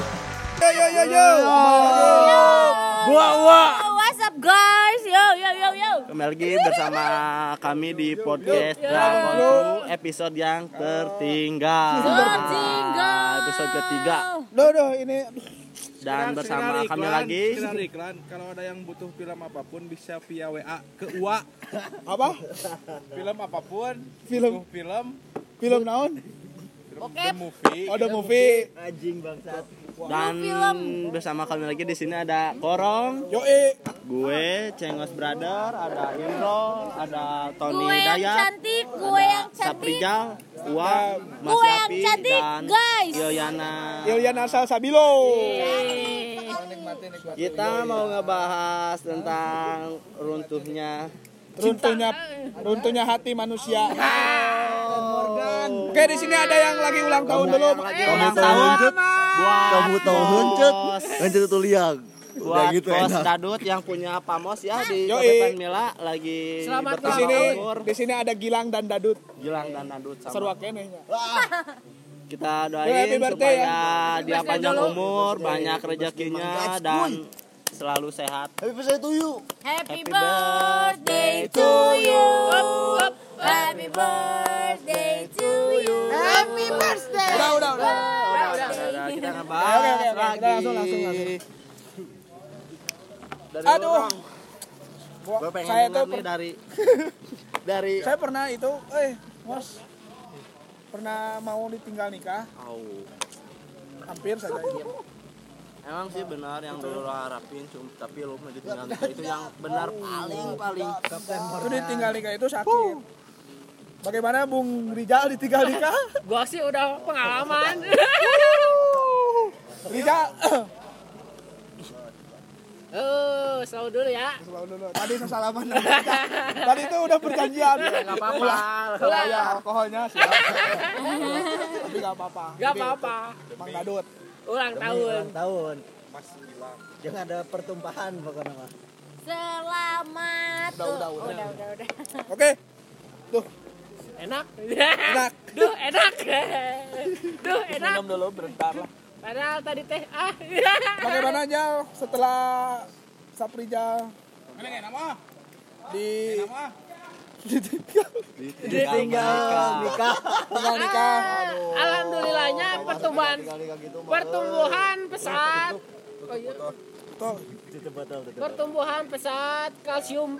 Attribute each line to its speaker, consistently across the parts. Speaker 1: yo yo yo yo.
Speaker 2: Gua gua.
Speaker 3: Oh, What's up guys? Yo yo yo yo.
Speaker 2: Kembali lagi bersama kami di podcast Dragon Crew episode yang tertinggal. Ah,
Speaker 3: Tertinggal.
Speaker 2: Episode ketiga
Speaker 1: Duh duh ini
Speaker 2: dan bersama
Speaker 4: Sekedar
Speaker 2: kami
Speaker 4: iklan,
Speaker 2: lagi
Speaker 4: sekedar iklan. Kalau ada yang butuh film apapun bisa via WA ke UA.
Speaker 1: apa?
Speaker 4: Film apapun,
Speaker 1: Film.
Speaker 4: butuh film,
Speaker 1: Film naon?
Speaker 4: film
Speaker 3: Bokep.
Speaker 4: the movie.
Speaker 1: Oh, the movie.
Speaker 2: dan bersama kami lagi di sini ada Korong,
Speaker 1: Yo eh.
Speaker 2: gue Cengos Brother, ada Imro, ada Tony
Speaker 3: Gue yang
Speaker 2: Dayat,
Speaker 3: cantik, gue
Speaker 2: ada
Speaker 3: yang cantik.
Speaker 2: Saprijal,
Speaker 1: Ya.
Speaker 2: Uwa, Mas
Speaker 3: Gue yang
Speaker 2: Yapi,
Speaker 3: cantik,
Speaker 2: dan
Speaker 3: guys.
Speaker 2: Yoyana.
Speaker 1: Ilian
Speaker 4: Ah.
Speaker 1: Asal Sabilo.
Speaker 2: Kita mau ngebahas tentang runtuhnya
Speaker 1: Runtuhnya runtuhnya hati manusia. Oke di sini ada yang lagi ulang tahun dulu.
Speaker 2: ulang tahun buat
Speaker 5: Kamu tahu hencet,
Speaker 2: Bos.
Speaker 5: hencet itu liang. Udah
Speaker 2: buat
Speaker 5: gitu
Speaker 2: Bos
Speaker 5: enak.
Speaker 2: Dadut yang punya Pamos ya di
Speaker 1: Yoi.
Speaker 2: Kabupaten Mila lagi
Speaker 4: Selamat
Speaker 1: Di
Speaker 2: bertambah
Speaker 1: sini
Speaker 2: umur.
Speaker 1: di sini ada Gilang dan Dadut.
Speaker 2: Gilang dan Dadut sama.
Speaker 1: Seru keneh nya.
Speaker 2: Kita
Speaker 1: Yo, happy
Speaker 2: doain
Speaker 1: birthday,
Speaker 2: supaya dia panjang umur, banyak rezekinya dan selalu sehat.
Speaker 5: Tapi pesan itu yuk.
Speaker 3: Happy
Speaker 2: Happy
Speaker 3: birthday
Speaker 2: birthday
Speaker 3: to you. Happy birthday to you. Happy birthday.
Speaker 1: Udah udah udah.
Speaker 2: Udah, udah, udah, udah. Kita
Speaker 1: Oke, oke, oke.
Speaker 2: ngebahas
Speaker 1: Udah,
Speaker 2: lagi.
Speaker 1: langsung, langsung, langsung.
Speaker 2: Dari
Speaker 1: Aduh.
Speaker 2: Aduh. Gue
Speaker 1: Gua-
Speaker 2: pengen
Speaker 1: saya
Speaker 2: denger
Speaker 1: tuh
Speaker 2: nih dari dari
Speaker 1: saya pernah itu eh Mas pernah mau ditinggal nikah
Speaker 2: Au.
Speaker 1: hampir saja ini.
Speaker 2: Emang sih benar yang dulu lo harapin, cum- tapi lo mau ditinggal nikah itu yang benar paling paling.
Speaker 1: itu ditinggal nikah itu sakit bagaimana Bung Rijal ditinggal nikah
Speaker 6: Gua sih udah pengalaman.
Speaker 1: Rijal
Speaker 6: Eh, selalu dulu ya.
Speaker 1: Selalu dulu. tadi kesalahan tadi itu udah perjanjian
Speaker 2: Gak
Speaker 5: Iya,
Speaker 2: apa-apa.
Speaker 1: Ulah, ya alkoholnya siap tapi gak apa-apa
Speaker 6: Gak apa-apa.
Speaker 1: Mang Dadut
Speaker 6: Ulang tahun.
Speaker 5: tahun. Jangan ada pertumpahan pokoknya mah.
Speaker 3: Selamat.
Speaker 1: udah udah udah
Speaker 3: Udah udah udah.
Speaker 1: oke tuh
Speaker 6: Enak.
Speaker 1: Enak.
Speaker 6: Duh, enak. Duh, enak.
Speaker 1: minum dulu bentar lah
Speaker 6: Padahal tadi teh ah.
Speaker 1: bagaimana Jal setelah Saprijal di
Speaker 2: Ditinggal nikah.
Speaker 1: tinggal nikah
Speaker 6: Alhamdulillahnya pertumbuhan pertumbuhan pesat. Oh, iya.
Speaker 1: tuh
Speaker 6: Pertumbuhan pesat, kalsium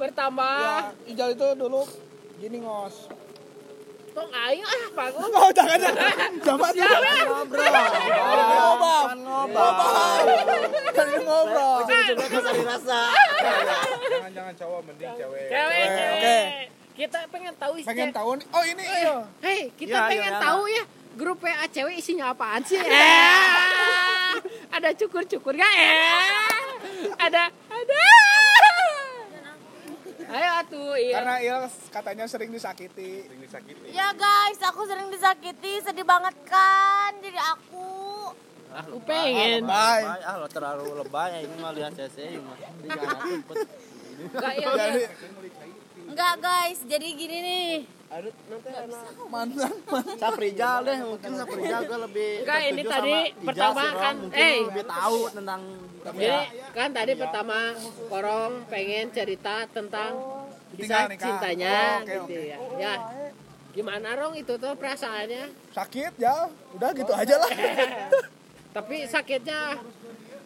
Speaker 6: bertambah.
Speaker 1: Ya, Ijal itu dulu gini ngos
Speaker 6: Tong aing ah bagus.
Speaker 1: Oh jangan jangan jangan jangan ngobrol ngobrol ngobrol ngobrol
Speaker 4: Jangan jangan cowok mending cewek.
Speaker 6: Cewek,
Speaker 1: Oke, oke.
Speaker 6: cewek. Kita pengen tahu isi
Speaker 1: pengen tahu nih oh ini iya.
Speaker 6: Hei, kita
Speaker 2: Ya,
Speaker 6: pengen
Speaker 2: ya, ya.
Speaker 6: tahu ya grup WA cewek isinya apaan sih? Eh, ada cukur-cukur nggak? Eh, ada, ada. Ayo atuh, iya.
Speaker 1: karena Il katanya sering disakiti
Speaker 4: Mending disakiti.
Speaker 3: Ya guys, aku sering disakiti, sedih banget kan jadi aku.
Speaker 6: Aku pengen.
Speaker 1: Bye.
Speaker 2: Lebay, ah lo terlalu lebay ini mah lihat CC ini mah. Jangan takut.
Speaker 6: Nggak, iya, iya.
Speaker 3: Enggak guys, jadi gini nih.
Speaker 1: mantan mantan
Speaker 2: Saprijal deh, mungkin Saprijal gue lebih
Speaker 6: Enggak, ini
Speaker 2: tertuju
Speaker 6: tadi
Speaker 2: sama Ijal
Speaker 6: pertama
Speaker 2: sih, Rom.
Speaker 6: kan,
Speaker 2: Mungkin
Speaker 6: eh.
Speaker 2: lo lebih tahu tentang
Speaker 6: Jadi kan tadi pertama Korong pengen cerita tentang
Speaker 1: Oh, Tinggal
Speaker 6: kisah
Speaker 1: nikah.
Speaker 6: cintanya
Speaker 1: Oh, oke,
Speaker 6: gitu ya. Ya. Gimana Rong itu tuh perasaannya?
Speaker 1: sakit ya udah gitu aja lah
Speaker 6: Tapi sakitnya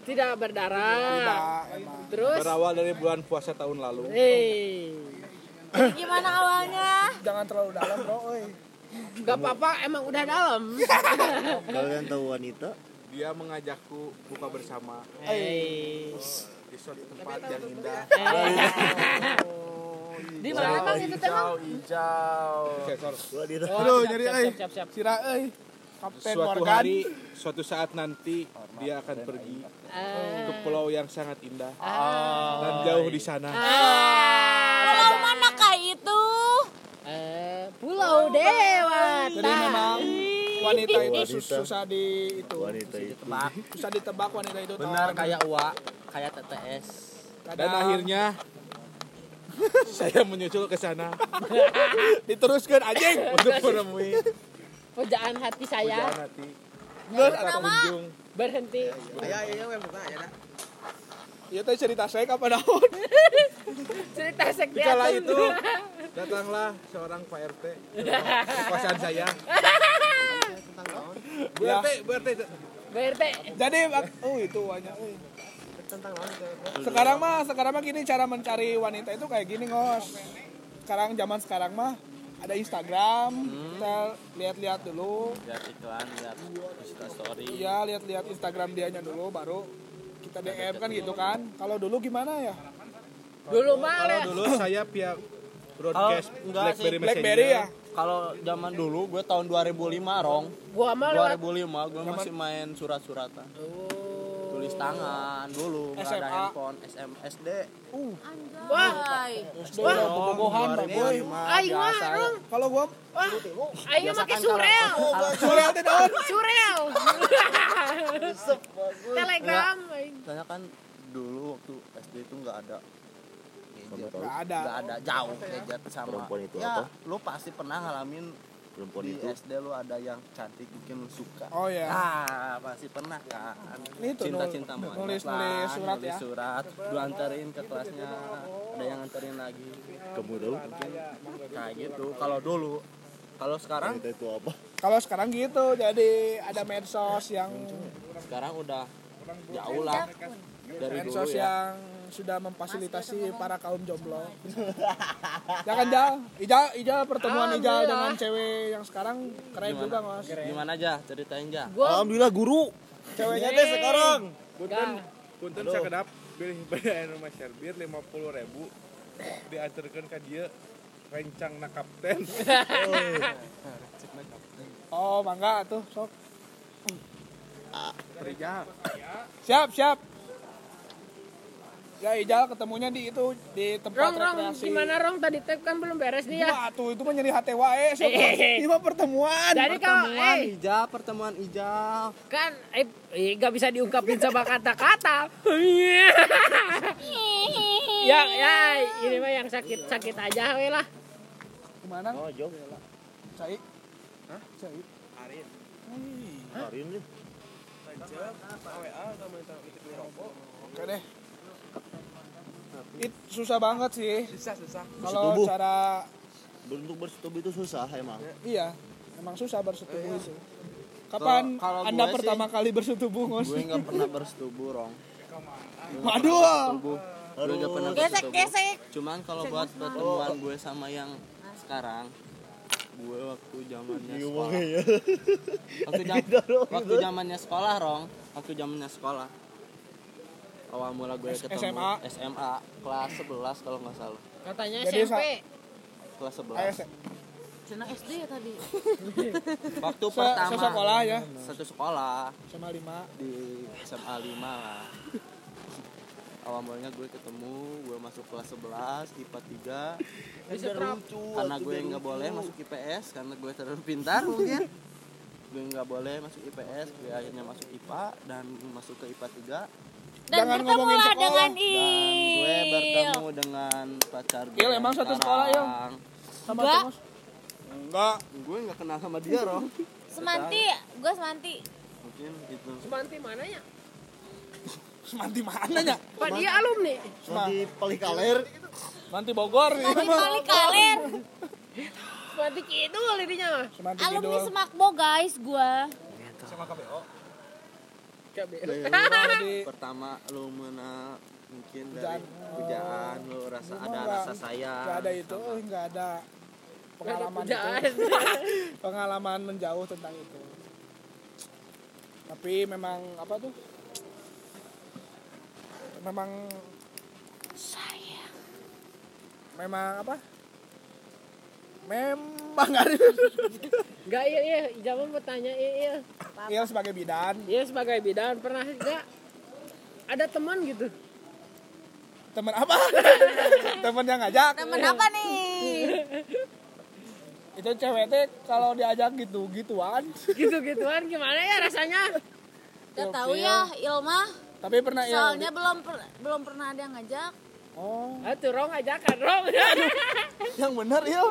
Speaker 6: tidak berdarah.
Speaker 1: Nah, emang.
Speaker 6: Terus
Speaker 4: Berawal dari bulan puasa tahun lalu.
Speaker 6: Eh,
Speaker 3: Jadi gimana awalnya?
Speaker 1: jangan terlalu dalam bro oi.
Speaker 6: gak apa-apa, emang udah dalam.
Speaker 5: Kalian tahu wanita?
Speaker 4: Dia mengajakku buka bersama
Speaker 6: Eh,
Speaker 4: di suatu tempat yang indah.
Speaker 6: di mana bang itu teh bang?
Speaker 4: hijau. Sensor.
Speaker 5: Wanita.
Speaker 1: Aduh, jadi
Speaker 6: siap,
Speaker 1: eh
Speaker 6: siap, siap, siap.
Speaker 1: sira eh Kapten
Speaker 4: Suatu
Speaker 1: Morgan
Speaker 4: hari, suatu saat nanti dia akan pergi ke pulau yang sangat indah
Speaker 1: Ah.
Speaker 4: dan jauh di sana.
Speaker 3: Kalau mana kah itu?
Speaker 6: Eh, Pulau Dewata.
Speaker 1: jadi memang wanita itu sus- susah di itu
Speaker 5: Wanita itu.
Speaker 2: tebak.
Speaker 1: susah ditebak wanita itu tau. kan?
Speaker 2: Benar kayak Uwa, kayak TTS.
Speaker 4: Dan
Speaker 1: Kadang
Speaker 4: akhirnya saya menyusul ke sana
Speaker 1: diteruskan anjing
Speaker 4: untuk menemui
Speaker 6: Pujaan hati saya.
Speaker 4: Jangan hati. Terus
Speaker 3: Nama?
Speaker 4: kunjung
Speaker 6: berhenti.
Speaker 7: Ayo, ayo, ayo, Wem, Pak, ya dah.
Speaker 1: Iya teh cerita saya kapan naon?
Speaker 6: Cerita sekte
Speaker 4: Dikala
Speaker 6: atuh.
Speaker 4: itu datanglah seorang Pak RT ke kosan saya. Bu
Speaker 1: Ya.
Speaker 4: RT, Bu RT.
Speaker 6: BRT.
Speaker 1: Jadi bak- oh itu banyak. oh.
Speaker 7: Tentang lawan itu.
Speaker 1: Sekarang mah sekarang mah gini cara mencari wanita itu kayak gini ngos. Sekarang zaman sekarang mah ada Instagram, kita lihat-lihat dulu.
Speaker 2: lihat iklan lihat Insta story
Speaker 1: Iya, lihat-lihat Instagram dianya dulu baru kita DM kan gitu kan. Kalau dulu gimana ya?
Speaker 6: Dulu mah
Speaker 4: Kalau
Speaker 6: ada-
Speaker 4: dulu saya pihak broadcast
Speaker 2: Kalau enggak sih,
Speaker 4: BlackBerry Messenger.
Speaker 1: Oh, BlackBerry ya?
Speaker 2: kalau zaman dulu gue tahun 2005 rong
Speaker 6: gua mah lewat
Speaker 2: 2005 gue masih main surat-suratan tulis tangan dulu nggak ada
Speaker 1: SMA.
Speaker 2: handphone SMSD
Speaker 6: wah
Speaker 1: Wah,
Speaker 2: oh,
Speaker 1: bobogohan Pak Boy.
Speaker 6: aing mah rung
Speaker 1: Kalau gua
Speaker 6: wah aing mah make surel
Speaker 1: sore teh daun.
Speaker 6: surel telegram aing.
Speaker 2: Soalnya kan dulu waktu SD itu nggak ada gadget.
Speaker 1: Enggak ada.
Speaker 2: Nggak ada jauh gadget sama.
Speaker 5: Perempuan itu
Speaker 2: ya,
Speaker 5: apa?
Speaker 2: Lu pasti pernah ngalamin
Speaker 5: perempuan
Speaker 2: di
Speaker 5: itu
Speaker 2: SD lu ada yang cantik bikin lu suka.
Speaker 1: Oh ya.
Speaker 2: Ah, pasti pernah kan.
Speaker 1: Ini tuh
Speaker 2: Cinta-cinta
Speaker 1: nul-
Speaker 2: monyet
Speaker 1: nulis-
Speaker 2: lah,
Speaker 1: nulis surat
Speaker 2: nulis
Speaker 1: ya.
Speaker 2: surat, lu anterin ke kelasnya. Ada yang anterin lagi.
Speaker 5: kamu tahu
Speaker 2: Kayak gitu kalau dulu. Kalau sekarang
Speaker 5: wanita itu apa
Speaker 1: Kalau sekarang gitu jadi ada medsos yang
Speaker 2: sekarang udah jauh lah dari dulu
Speaker 1: medsos
Speaker 2: ya.
Speaker 1: yang sudah memfasilitasi para kaum jomblo. ya kan Jal? Ijal, Ijal pertemuan Ijal dengan cewek yang sekarang Ah, iya. keren juga, Mas.
Speaker 2: Gimana aja ceritain aja.
Speaker 6: gua
Speaker 5: alhamdulillah guru
Speaker 1: Ceweknya teh sekarang
Speaker 4: Punten,
Speaker 6: Dah.
Speaker 4: punten saya kedap beli beli anu mas Syarbir 50 ribu diantarkan ke dia rencang na kapten.
Speaker 1: Oh, mangga tuh, sok. Siap, siap. Ya Ijal ketemunya di itu di tempat
Speaker 6: rong rong
Speaker 1: rekreasi.
Speaker 6: gimana rong tadi teh kan belum beres nih ya
Speaker 1: Wah, kan tuh itu mah nyeri hati wae. sok. Ini mah pertemuan.
Speaker 6: jadi kalau eh
Speaker 2: Ijal, pertemuan Ijal.
Speaker 6: kan eh, eh gak bisa diungkapin sama kata-kata ya ya ini mah yang sakit sakit aja we lah
Speaker 1: Gimana? Oh, jauh ya Cai. Hah? Cai.
Speaker 5: hari ini
Speaker 1: Oke deh. It susah banget sih. Susah, susah. Kalau
Speaker 5: Bersetubuh.
Speaker 1: cara
Speaker 5: bentuk bersetubuh itu susah emang
Speaker 1: iya, emang susah bersetubuh itu. Kapan
Speaker 2: Iya. Kalau- kalau
Speaker 1: Anda
Speaker 2: gue
Speaker 1: pertama kali bersetubuh, Ngos?
Speaker 2: Gue nggak pernah bersetubuh, Rong.
Speaker 1: Waduh.
Speaker 2: Tubuh. Gue nggak pernah bersetubuh.
Speaker 3: Gesek-gesek.
Speaker 2: Cuman kalau buat pertemuan gue sama yang sekarang, gue waktu zamannya
Speaker 5: Iya,
Speaker 2: sekolah.
Speaker 5: ya.
Speaker 2: Waktu jam, waktu zamannya sekolah, Rong. Waktu zamannya sekolah. Awal mula gue ketemu
Speaker 1: SMA.
Speaker 2: SMA kelas 11 kalau nggak salah.
Speaker 6: katanya
Speaker 1: Jadi,
Speaker 6: SMP
Speaker 2: Kelas 11.
Speaker 1: Ayo,
Speaker 3: Cina SD ya tadi.
Speaker 2: Waktu
Speaker 1: Se-
Speaker 2: pertama
Speaker 1: sesekolah ya?
Speaker 2: Satu sekolah.
Speaker 1: sama lima.
Speaker 2: di SMA 5 lah awal mulanya gue ketemu gue masuk kelas 11 IPA 3 karena gue nggak boleh masuk IPS karena gue terlalu pintar mungkin gue nggak boleh masuk IPS gue akhirnya masuk IPA dan masuk ke IPA 3
Speaker 3: Dan
Speaker 1: Jangan ngomongin
Speaker 3: bertemulah
Speaker 1: sekolah.
Speaker 3: dengan
Speaker 2: dan gue
Speaker 3: Il.
Speaker 2: bertemu dengan pacar gue
Speaker 1: Il, emang satu sekolah, Il?
Speaker 2: sekarang.
Speaker 1: Sama
Speaker 3: Enggak.
Speaker 1: tuh, Ngos. Enggak.
Speaker 2: gue nggak kenal sama dia roh
Speaker 3: Semanti, gue semanti.
Speaker 2: mungkin gitu. itu
Speaker 5: Gitu.
Speaker 6: Semanti mananya
Speaker 1: Semanti mana ya?
Speaker 6: ya? Pak dia alumni
Speaker 5: nanti paling kaler
Speaker 1: Semanti Bogor ya.
Speaker 3: Tapi kali kaler.
Speaker 6: Semanti kidul dirinya mah
Speaker 1: Semanti
Speaker 3: Alumni
Speaker 1: Kidul.
Speaker 3: Semakbo guys gue.
Speaker 1: Semanti
Speaker 2: pertama lu mena mungkin
Speaker 1: Hujan.
Speaker 2: dari hujan lu rasa ada
Speaker 1: enggak.
Speaker 2: rasa sayang
Speaker 1: Enggak ada itu, oh, enggak ada pengalaman
Speaker 6: Jangan.
Speaker 1: itu. pengalaman menjauh tentang itu. Tapi memang apa tuh? Memang
Speaker 3: Sayang.
Speaker 1: memang apa? Memang ada.
Speaker 6: Gak iya iya Ijabah mau tanya iya iya
Speaker 1: Iya sebagai bidan,
Speaker 6: Iya sebagai bidan pernah gak ada teman gitu
Speaker 1: teman apa? teman yang ngajak.
Speaker 3: Temen apa nih?
Speaker 1: Itu cewek teh kalau diajak gitu gituan.
Speaker 6: gitu-gituan gimana ya rasanya
Speaker 3: Gak tahu ya, Ilma.
Speaker 1: Tapi pernah ya.
Speaker 3: Soalnya belum per- belum pernah ada yang ngajak.
Speaker 1: Oh,
Speaker 6: Atuh rong ajakan rong.
Speaker 3: iya.
Speaker 1: yang benar ya.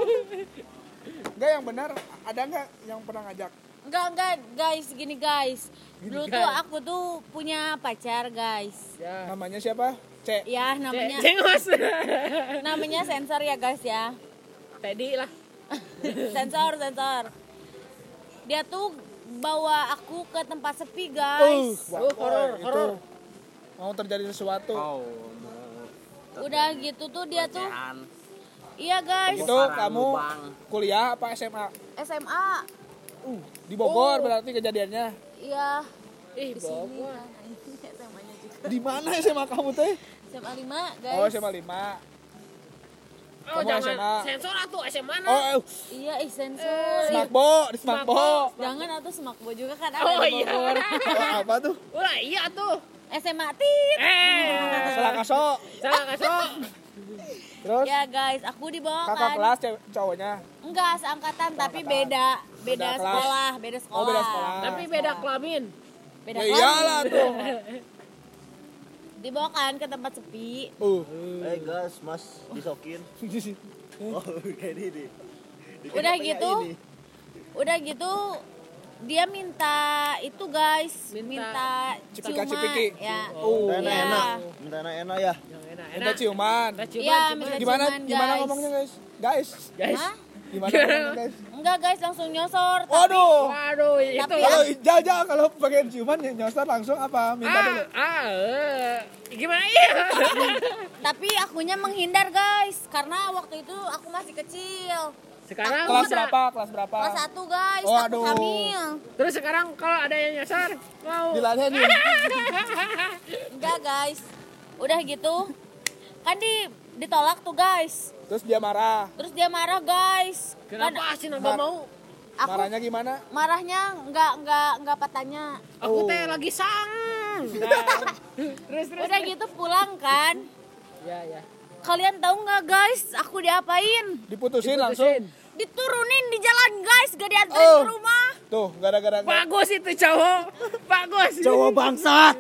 Speaker 1: Enggak yang benar, ada enggak yang pernah ngajak?
Speaker 3: Enggak, enggak, guys, gini guys. Dulu tuh aku tuh punya pacar, guys.
Speaker 6: Ya.
Speaker 1: Namanya siapa? C.
Speaker 3: Ya, namanya
Speaker 6: Jengos.
Speaker 3: namanya sensor ya, guys ya.
Speaker 6: Tadi lah.
Speaker 3: sensor, sensor. Dia tuh bawa aku ke tempat sepi, guys.
Speaker 6: Oh, horor, horor.
Speaker 1: Mau terjadi sesuatu.
Speaker 8: Oh,
Speaker 3: Udah gitu tuh dia tuh
Speaker 8: an.
Speaker 3: Iya, guys.
Speaker 1: Itu
Speaker 8: Saran
Speaker 1: kamu
Speaker 8: lu, Bang.
Speaker 1: kuliah apa SMA?
Speaker 3: SMA.
Speaker 1: Uh, di Bogor
Speaker 6: Oh.
Speaker 1: berarti kejadiannya.
Speaker 3: Iya.
Speaker 6: Ih,
Speaker 3: Di sini.
Speaker 6: bawa.
Speaker 3: kan. SMA-nya juga.
Speaker 1: Di mana SMA kamu teh?
Speaker 3: SMA 5, guys.
Speaker 1: Oh, SMA 5.
Speaker 6: Oh,
Speaker 1: Kamu
Speaker 6: jangan
Speaker 1: SMA.
Speaker 6: sensor atuh SMA
Speaker 1: Oh,
Speaker 6: nah.
Speaker 1: eh,
Speaker 3: Iya, ih sensor.
Speaker 1: Smakbo, di Smakbo.
Speaker 3: Jangan atau semakbo juga kan ada
Speaker 6: Oh,
Speaker 3: di
Speaker 6: iya.
Speaker 3: Bogor.
Speaker 1: Oh, apa tuh?
Speaker 6: Ulah iya tuh.
Speaker 3: SMA tit.
Speaker 6: Eh,
Speaker 1: Salah kaso.
Speaker 6: salah kasok.
Speaker 1: Terus
Speaker 3: Ya guys, aku dibawa
Speaker 1: kakak
Speaker 3: kan.
Speaker 1: kelas cewek- cowoknya.
Speaker 3: Enggak, seangkatan tapi beda beda
Speaker 1: Beda kelas.
Speaker 3: sekolah, beda sekolah.
Speaker 1: Oh, beda sekolah.
Speaker 6: Tapi beda kelamin.
Speaker 3: Beda
Speaker 1: Ya
Speaker 3: kelas.
Speaker 1: iyalah tuh.
Speaker 3: Dibawa kan ke tempat sepi.
Speaker 1: Uh.
Speaker 5: Eh gas, mas, disokin. Oh, kayak ini. Dikit
Speaker 3: Udah
Speaker 5: apa ya
Speaker 3: gitu.
Speaker 5: ini?
Speaker 3: Udah gitu dia minta itu guys,
Speaker 6: Minta.
Speaker 3: minta,
Speaker 1: Cipika
Speaker 3: ciuman
Speaker 1: cipiki.
Speaker 3: ya.
Speaker 1: Oh.
Speaker 3: Iya.
Speaker 5: Minta enak-enak. Minta enak-enak ya.
Speaker 6: Yang enak.
Speaker 1: Minta ciuman.
Speaker 6: Kita ciuman,
Speaker 3: Iya,
Speaker 6: ciuman.
Speaker 3: minta
Speaker 1: Gimana
Speaker 3: ciuman,
Speaker 1: gimana
Speaker 3: guys.
Speaker 1: ngomongnya, guys? Guys.
Speaker 6: Guys.
Speaker 3: Hah?
Speaker 1: Gimana ngomongnya, guys?
Speaker 3: Enggak guys, langsung nyosor.
Speaker 1: Waduh.
Speaker 6: Waduh, itu.
Speaker 3: Tapi- ya.
Speaker 1: Kalau jajah kalau bagian ciuman ya nyosor langsung apa? Minta
Speaker 6: Ah,
Speaker 1: dulu.
Speaker 6: ah, eh. gimana iya?
Speaker 3: Tapi akunya menghindar guys, karena waktu itu aku masih kecil.
Speaker 6: Sekarang
Speaker 1: Kelas
Speaker 6: bisa.
Speaker 1: berapa? Kelas berapa?
Speaker 3: Kelas satu guys,
Speaker 1: Oh,
Speaker 3: aku
Speaker 1: aduh.
Speaker 3: hamil.
Speaker 6: Terus sekarang kalau ada yang nyasar, mau.
Speaker 1: Diladenin.
Speaker 3: Enggak guys. Udah gitu, kan di ditolak tuh guys.
Speaker 1: Terus dia marah.
Speaker 3: Terus dia marah guys. Kan
Speaker 6: Kenapa sih nambah
Speaker 1: Mar-
Speaker 6: mau?
Speaker 3: aku
Speaker 1: Marahnya gimana?
Speaker 3: marahnya enggak enggak enggak patahnya.
Speaker 1: Oh.
Speaker 6: Aku teh lagi sang. terus terus.
Speaker 3: Udah gitu pulang kan.
Speaker 6: Ya ya.
Speaker 3: Kalian tahu nggak guys, aku diapain?
Speaker 1: Diputusin, langsung.
Speaker 3: Diturunin di jalan guys, gak dianterin
Speaker 1: Oh.
Speaker 3: ke rumah.
Speaker 1: Tuh, gara-gara
Speaker 6: Bagus itu cowok. Bagus.
Speaker 5: Cowok bangsa.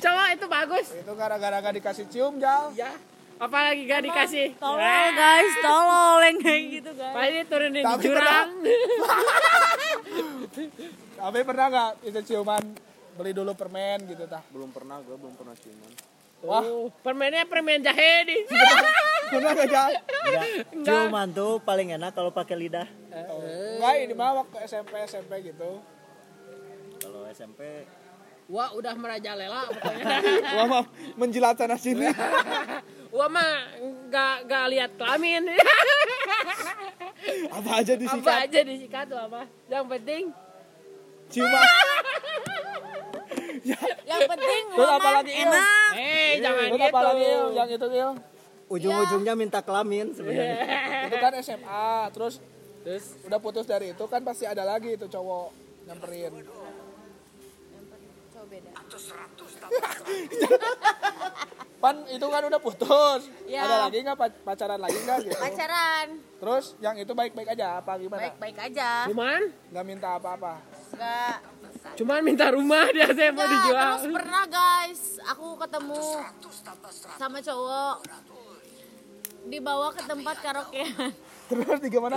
Speaker 6: Cowok itu bagus.
Speaker 1: itu gara-gara gak dikasih cium, Jal.
Speaker 3: Iya.
Speaker 6: Ya. Apalagi gak dikasih.
Speaker 3: Tolol guys, tolol yang kayak gitu guys.
Speaker 6: Pasti turunin di
Speaker 1: Tapi
Speaker 6: jurang.
Speaker 1: Tapi pernah gak itu ciuman beli dulu permen gitu tah?
Speaker 8: Belum pernah gue belum pernah ciuman.
Speaker 1: Wah,
Speaker 6: Oh, permennya permen jahe di.
Speaker 1: pernah gak Jal?
Speaker 5: Enggak. Ciuman tuh paling enak kalau pakai lidah.
Speaker 1: Enggak, ini mah waktu SMP SMP gitu.
Speaker 5: Kalau SMP
Speaker 6: Wah, udah merajalela pokoknya.
Speaker 1: Gua mah menjilat sana sini.
Speaker 6: Wah mah nggak nggak lihat kelamin.
Speaker 1: Apa aja
Speaker 6: apa
Speaker 1: disikat.
Speaker 6: aja disikat tuh apa? Yang penting
Speaker 1: Ciuman.
Speaker 3: Yang penting
Speaker 1: Terus
Speaker 3: rumah
Speaker 1: apa lagi, Il?
Speaker 3: enak.
Speaker 6: Eh, jangan
Speaker 1: Terus
Speaker 6: gitu.
Speaker 1: apa lagi Il? yang itu Il?
Speaker 5: ujung-ujungnya minta kelamin sebenarnya.
Speaker 1: Itu kan SMA, terus
Speaker 6: Terus
Speaker 1: udah putus dari itu kan pasti ada lagi itu cowok nyamperin. Pan itu kan udah putus.
Speaker 3: Ya.
Speaker 1: Ada lagi nggak pac- pacaran lagi nggak gitu?
Speaker 3: Pacaran,
Speaker 1: Terus yang itu baik-baik aja apa gimana?
Speaker 3: baik-baik aja.
Speaker 6: cuman
Speaker 1: Nggak minta apa-apa.
Speaker 3: Enggak.
Speaker 6: cuman minta rumah dia saya mau
Speaker 3: Enggak,
Speaker 6: dijual.
Speaker 3: terus pernah guys, aku ketemu sama cowok dibawa ke tempat karaokean.
Speaker 1: Terus di gimana?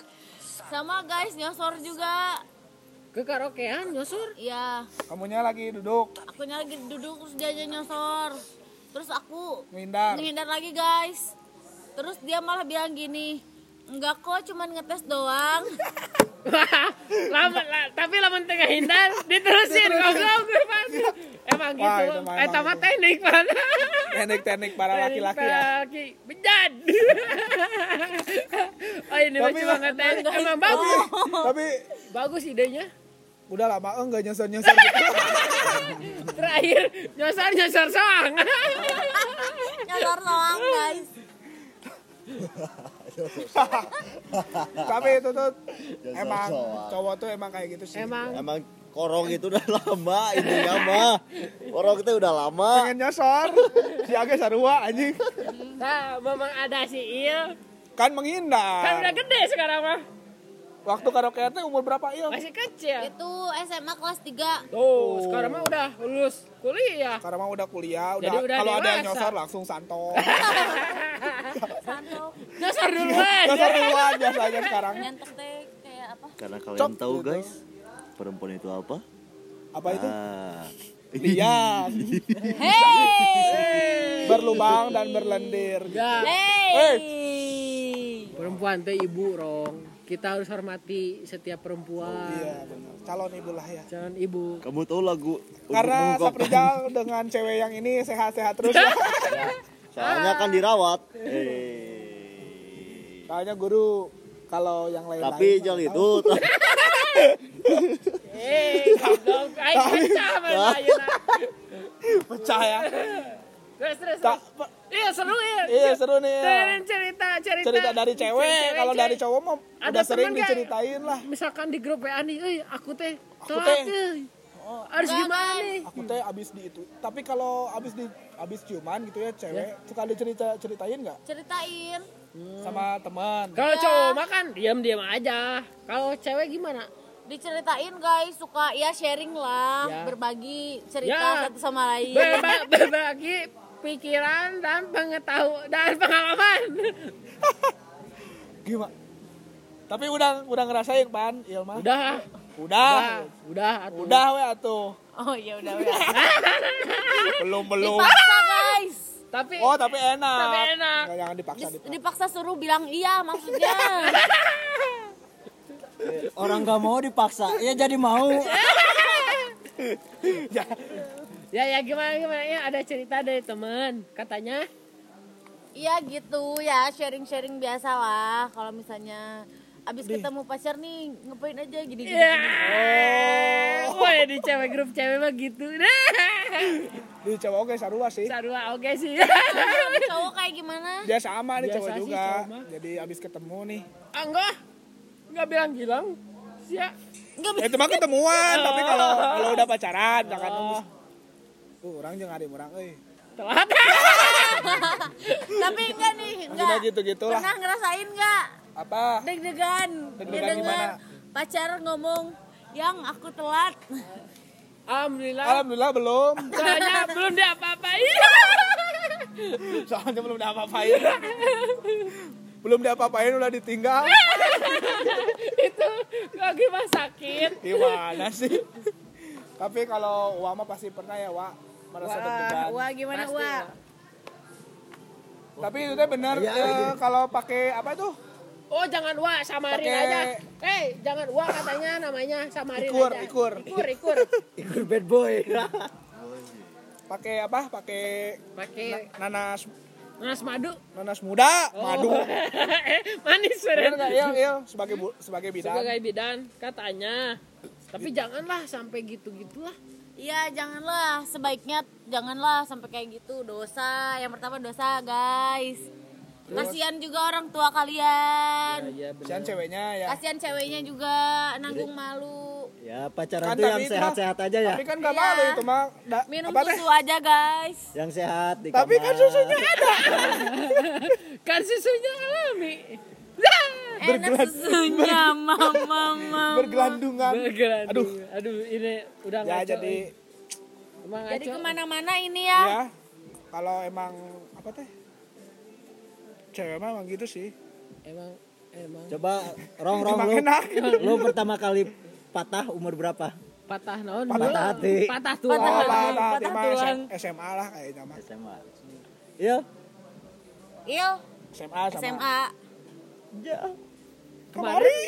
Speaker 3: Sama guys nyosor juga.
Speaker 6: Ke karaokean nyosor.
Speaker 3: Iya,
Speaker 1: Kamunya lagi duduk,
Speaker 3: akunya lagi duduk terus dia aja nyosor. Terus aku
Speaker 1: ngindar.
Speaker 3: menghindar lagi guys. Terus dia malah bilang gini, enggak kok cuman ngetes doang.
Speaker 6: lama la- tapi lama tengah hindar diterusin goblok gue pasti. Emang
Speaker 1: Wah,
Speaker 6: gitu.
Speaker 1: itu mah
Speaker 6: Eh
Speaker 1: emang
Speaker 6: tamat
Speaker 1: gitu.
Speaker 6: teknik Pak.
Speaker 1: Teknik-teknik para laki-laki ya.
Speaker 6: Laki bejat. oh ini mah
Speaker 1: Tapi
Speaker 6: cuma
Speaker 1: lah-
Speaker 6: ngetes. Emang bagus.
Speaker 1: Tapi
Speaker 6: Bagus idenya.
Speaker 1: udah lama enggak nyosor-nyosor gitu.
Speaker 6: Terakhir nyosor nyosor soang.
Speaker 3: nyosor doang guys.
Speaker 1: Tapi itu tuh emang
Speaker 5: soal-soal.
Speaker 1: cowok tuh emang kayak gitu sih.
Speaker 6: Emang
Speaker 5: Emang korong itu udah lama intinya mah. Korong itu udah lama.
Speaker 1: pengen nyosor si Aga sarua anjing
Speaker 6: Nah, memang ada si Il.
Speaker 1: kan
Speaker 6: Kan udah
Speaker 1: menghindar
Speaker 6: gede sekarang mah.
Speaker 1: waktu karaoke teh umur berapa iya
Speaker 6: Masih kecil.
Speaker 3: Itu SMA kelas 3.
Speaker 6: Tuh, sekarang mah udah lulus kuliah.
Speaker 1: karena mah udah kuliah udah,
Speaker 6: Jadi udah
Speaker 1: kalau ada yang
Speaker 6: dewasa.
Speaker 1: nyosor langsung santo
Speaker 3: Santok.
Speaker 6: Nyasar duluan.
Speaker 1: nyosor duluan biasanya sekarang
Speaker 3: Nyentek teh kayak apa?
Speaker 5: Karena kalian
Speaker 1: Cok,
Speaker 5: tahu
Speaker 1: gitu.
Speaker 5: guys, perempuan itu apa?
Speaker 1: Apa itu?
Speaker 5: Ah,
Speaker 1: Liang.
Speaker 3: Hey.
Speaker 1: Berlubang dan berlendir.
Speaker 3: Hey.
Speaker 6: Perempuan teh ibu rong. Kita harus hormati setiap perempuan.
Speaker 1: Iya benar. Calon ibu lah ya.
Speaker 6: Jangan ibu.
Speaker 5: kamu tahu lagu untuk
Speaker 1: Karena
Speaker 5: mengungkapkan-
Speaker 1: Saprijal dengan cewek yang ini sehat-sehat terus ya.
Speaker 5: Soalnya kan dirawat. Eh.
Speaker 1: Soalnya guru kalau yang lain
Speaker 5: Tapi jal itu
Speaker 6: Eh, goblok. Aing pecah mana ayeuna.
Speaker 1: pecah ya.
Speaker 6: Terus terus.
Speaker 1: Tak,
Speaker 6: terus. Iya seru ya.
Speaker 1: iya seru nih. ya.
Speaker 6: Dengerin cerita cerita.
Speaker 1: Cerita dari cewek, kalau dari cowok mah
Speaker 6: Ada
Speaker 1: udah sering
Speaker 6: temen gak?
Speaker 1: diceritain lah.
Speaker 6: Misalkan di grup WA nih, "Euy, aku teh
Speaker 1: Aku
Speaker 6: telat
Speaker 1: teh. Oh,
Speaker 6: euy. Harus gimana nih?
Speaker 1: Aku teh abis di itu. Tapi kalau abis di abis ciuman gitu ya cewek suka dicerita ceritain nggak
Speaker 3: Ceritain.
Speaker 6: Hmm.
Speaker 1: sama teman?
Speaker 6: Kalau cowok makan diam-diam aja. Kalau cewek gimana?
Speaker 3: Diceritain guys, suka ya sharing lah,
Speaker 6: Ya.
Speaker 3: berbagi
Speaker 6: Ya.
Speaker 3: cerita satu sama lain.
Speaker 1: Iya.
Speaker 6: Berba- berbagi pikiran dan pengetahuan dan pengalaman.
Speaker 1: Gimana? Tapi udah udah ngerasain pan, Ilma?
Speaker 6: Udah,
Speaker 1: Udah.
Speaker 6: udah, udah, atuh.
Speaker 1: Udah we atuh.
Speaker 3: Oh iya udah udah.
Speaker 1: Belum belum.
Speaker 3: Dipaksa guys.
Speaker 6: Tapi
Speaker 1: Oh, tapi enak.
Speaker 6: Tapi enak.
Speaker 1: Nggak, jangan dipaksa
Speaker 3: Dis-
Speaker 1: dipaksa.
Speaker 3: Dipaksa suruh bilang iya maksudnya.
Speaker 2: Orang gak mau dipaksa, ya jadi mau.
Speaker 6: ya ya gimana gimana ya ada cerita dari teman katanya
Speaker 3: Iya gitu ya, sharing-sharing biasa lah kalau misalnya abis ketemu pacar nih ngapain aja gini gini.
Speaker 6: ya Oh. wah ya, di cewek grup cewek mah gitu nah
Speaker 1: Di cowok oke sarua sih.
Speaker 6: sarua oke sih
Speaker 3: Sama cowok kayak gimana?
Speaker 1: Dia sama nih
Speaker 6: Biasa
Speaker 1: cowok
Speaker 6: sih,
Speaker 1: juga.
Speaker 6: cowok mah.
Speaker 1: Jadi abis ketemu nih.
Speaker 6: Ah, enggak enggak bilang bilang ya
Speaker 3: Nggak
Speaker 1: Ya, itu mah ketemuan, tapi kalau kalau udah pacaran jangan
Speaker 6: Oh.
Speaker 1: nunggu. Uh, orang jeung ada orang euy.
Speaker 6: telat
Speaker 3: Tapi enggak nih, enggak.
Speaker 1: Maksudnya gitu-gitulah.
Speaker 3: Pernah ngerasain enggak
Speaker 1: Apa?
Speaker 3: deg-degan?
Speaker 1: Deg-degan
Speaker 3: Didengar
Speaker 1: gimana?
Speaker 3: pacar ngomong, "Yang aku telat."
Speaker 6: alhamdulillah
Speaker 1: Alhamdulillah belum.
Speaker 6: soalnya belum dia Iya. apa apain
Speaker 1: Soalnya belum ada apa-apain. belum ada apa-apain udah ditinggal.
Speaker 6: itu lagi mah sakit
Speaker 1: Gimana sih? tapi kalau Wa mah pasti pernah ya, Wa merasa deg-degan.
Speaker 3: wah gimana wah?
Speaker 1: Tapi itu teh benar eh, kalau pakai apa itu?
Speaker 6: Oh jangan wah samarin
Speaker 1: Pakai-
Speaker 6: aja. Eh jangan wah katanya namanya samarin
Speaker 1: Ikur,
Speaker 6: aja.
Speaker 1: ikur.
Speaker 6: ikur, ikur.
Speaker 2: Ikut bad boy.
Speaker 1: Pakai apa? Pakai
Speaker 6: Pakai
Speaker 1: nanas
Speaker 6: nanas madu.
Speaker 1: nanas muda, madu.
Speaker 6: Oh. Eh, Manis
Speaker 1: Bener
Speaker 6: bener.
Speaker 1: nggak? Iya, iya. Sebagai bu- sebagai bidan.
Speaker 6: Sebagai bidan katanya. Tapi janganlah sampai gitu-gitulah.
Speaker 3: Iya janganlah sebaiknya janganlah sampai kayak gitu dosa yang pertama dosa guys kasihan juga orang tua kalian
Speaker 6: Iya
Speaker 1: Kasihan ceweknya ya.
Speaker 3: kasihan ceweknya juga nanggung malu
Speaker 2: Ya pacaran
Speaker 1: Kan
Speaker 2: tuh yang
Speaker 1: tapi itu mah-
Speaker 2: sehat-sehat aja ya.
Speaker 1: Tapi kan gak
Speaker 3: Iya.
Speaker 1: malu itu mah. Da-
Speaker 3: minum
Speaker 1: apa teh?
Speaker 3: susu aja guys
Speaker 2: Yang sehat di
Speaker 1: Tapi kan
Speaker 2: kamar.
Speaker 1: susunya ada.
Speaker 6: Kan susunya alami. Dah.
Speaker 3: enak susunya mama mama
Speaker 1: Bergelandungan.
Speaker 6: Bergerak.
Speaker 1: Aduh.
Speaker 6: aduh ini udah
Speaker 1: Ya
Speaker 6: ngaco.
Speaker 1: jadi
Speaker 6: Emang
Speaker 3: jadi
Speaker 6: ngaco.
Speaker 3: kemana-mana ini ya,
Speaker 1: ya kalau emang apa teh? Cewek mah emang gitu sih.
Speaker 6: Emang emang
Speaker 2: Coba rong rong
Speaker 1: Emang
Speaker 2: lu.
Speaker 1: enak.
Speaker 2: Lu pertama kali patah umur berapa?
Speaker 6: patah naon?
Speaker 2: Patah
Speaker 6: dulu?
Speaker 2: hati.
Speaker 6: Patah
Speaker 1: Oh,
Speaker 6: tulang.
Speaker 3: Patah
Speaker 1: patah hati
Speaker 3: patah
Speaker 1: mah
Speaker 3: tulang.
Speaker 1: SM- SMA lah kayaknya mah.
Speaker 2: SMA. Iya.
Speaker 3: il
Speaker 1: SMA sama.
Speaker 3: SMA
Speaker 1: Kemari.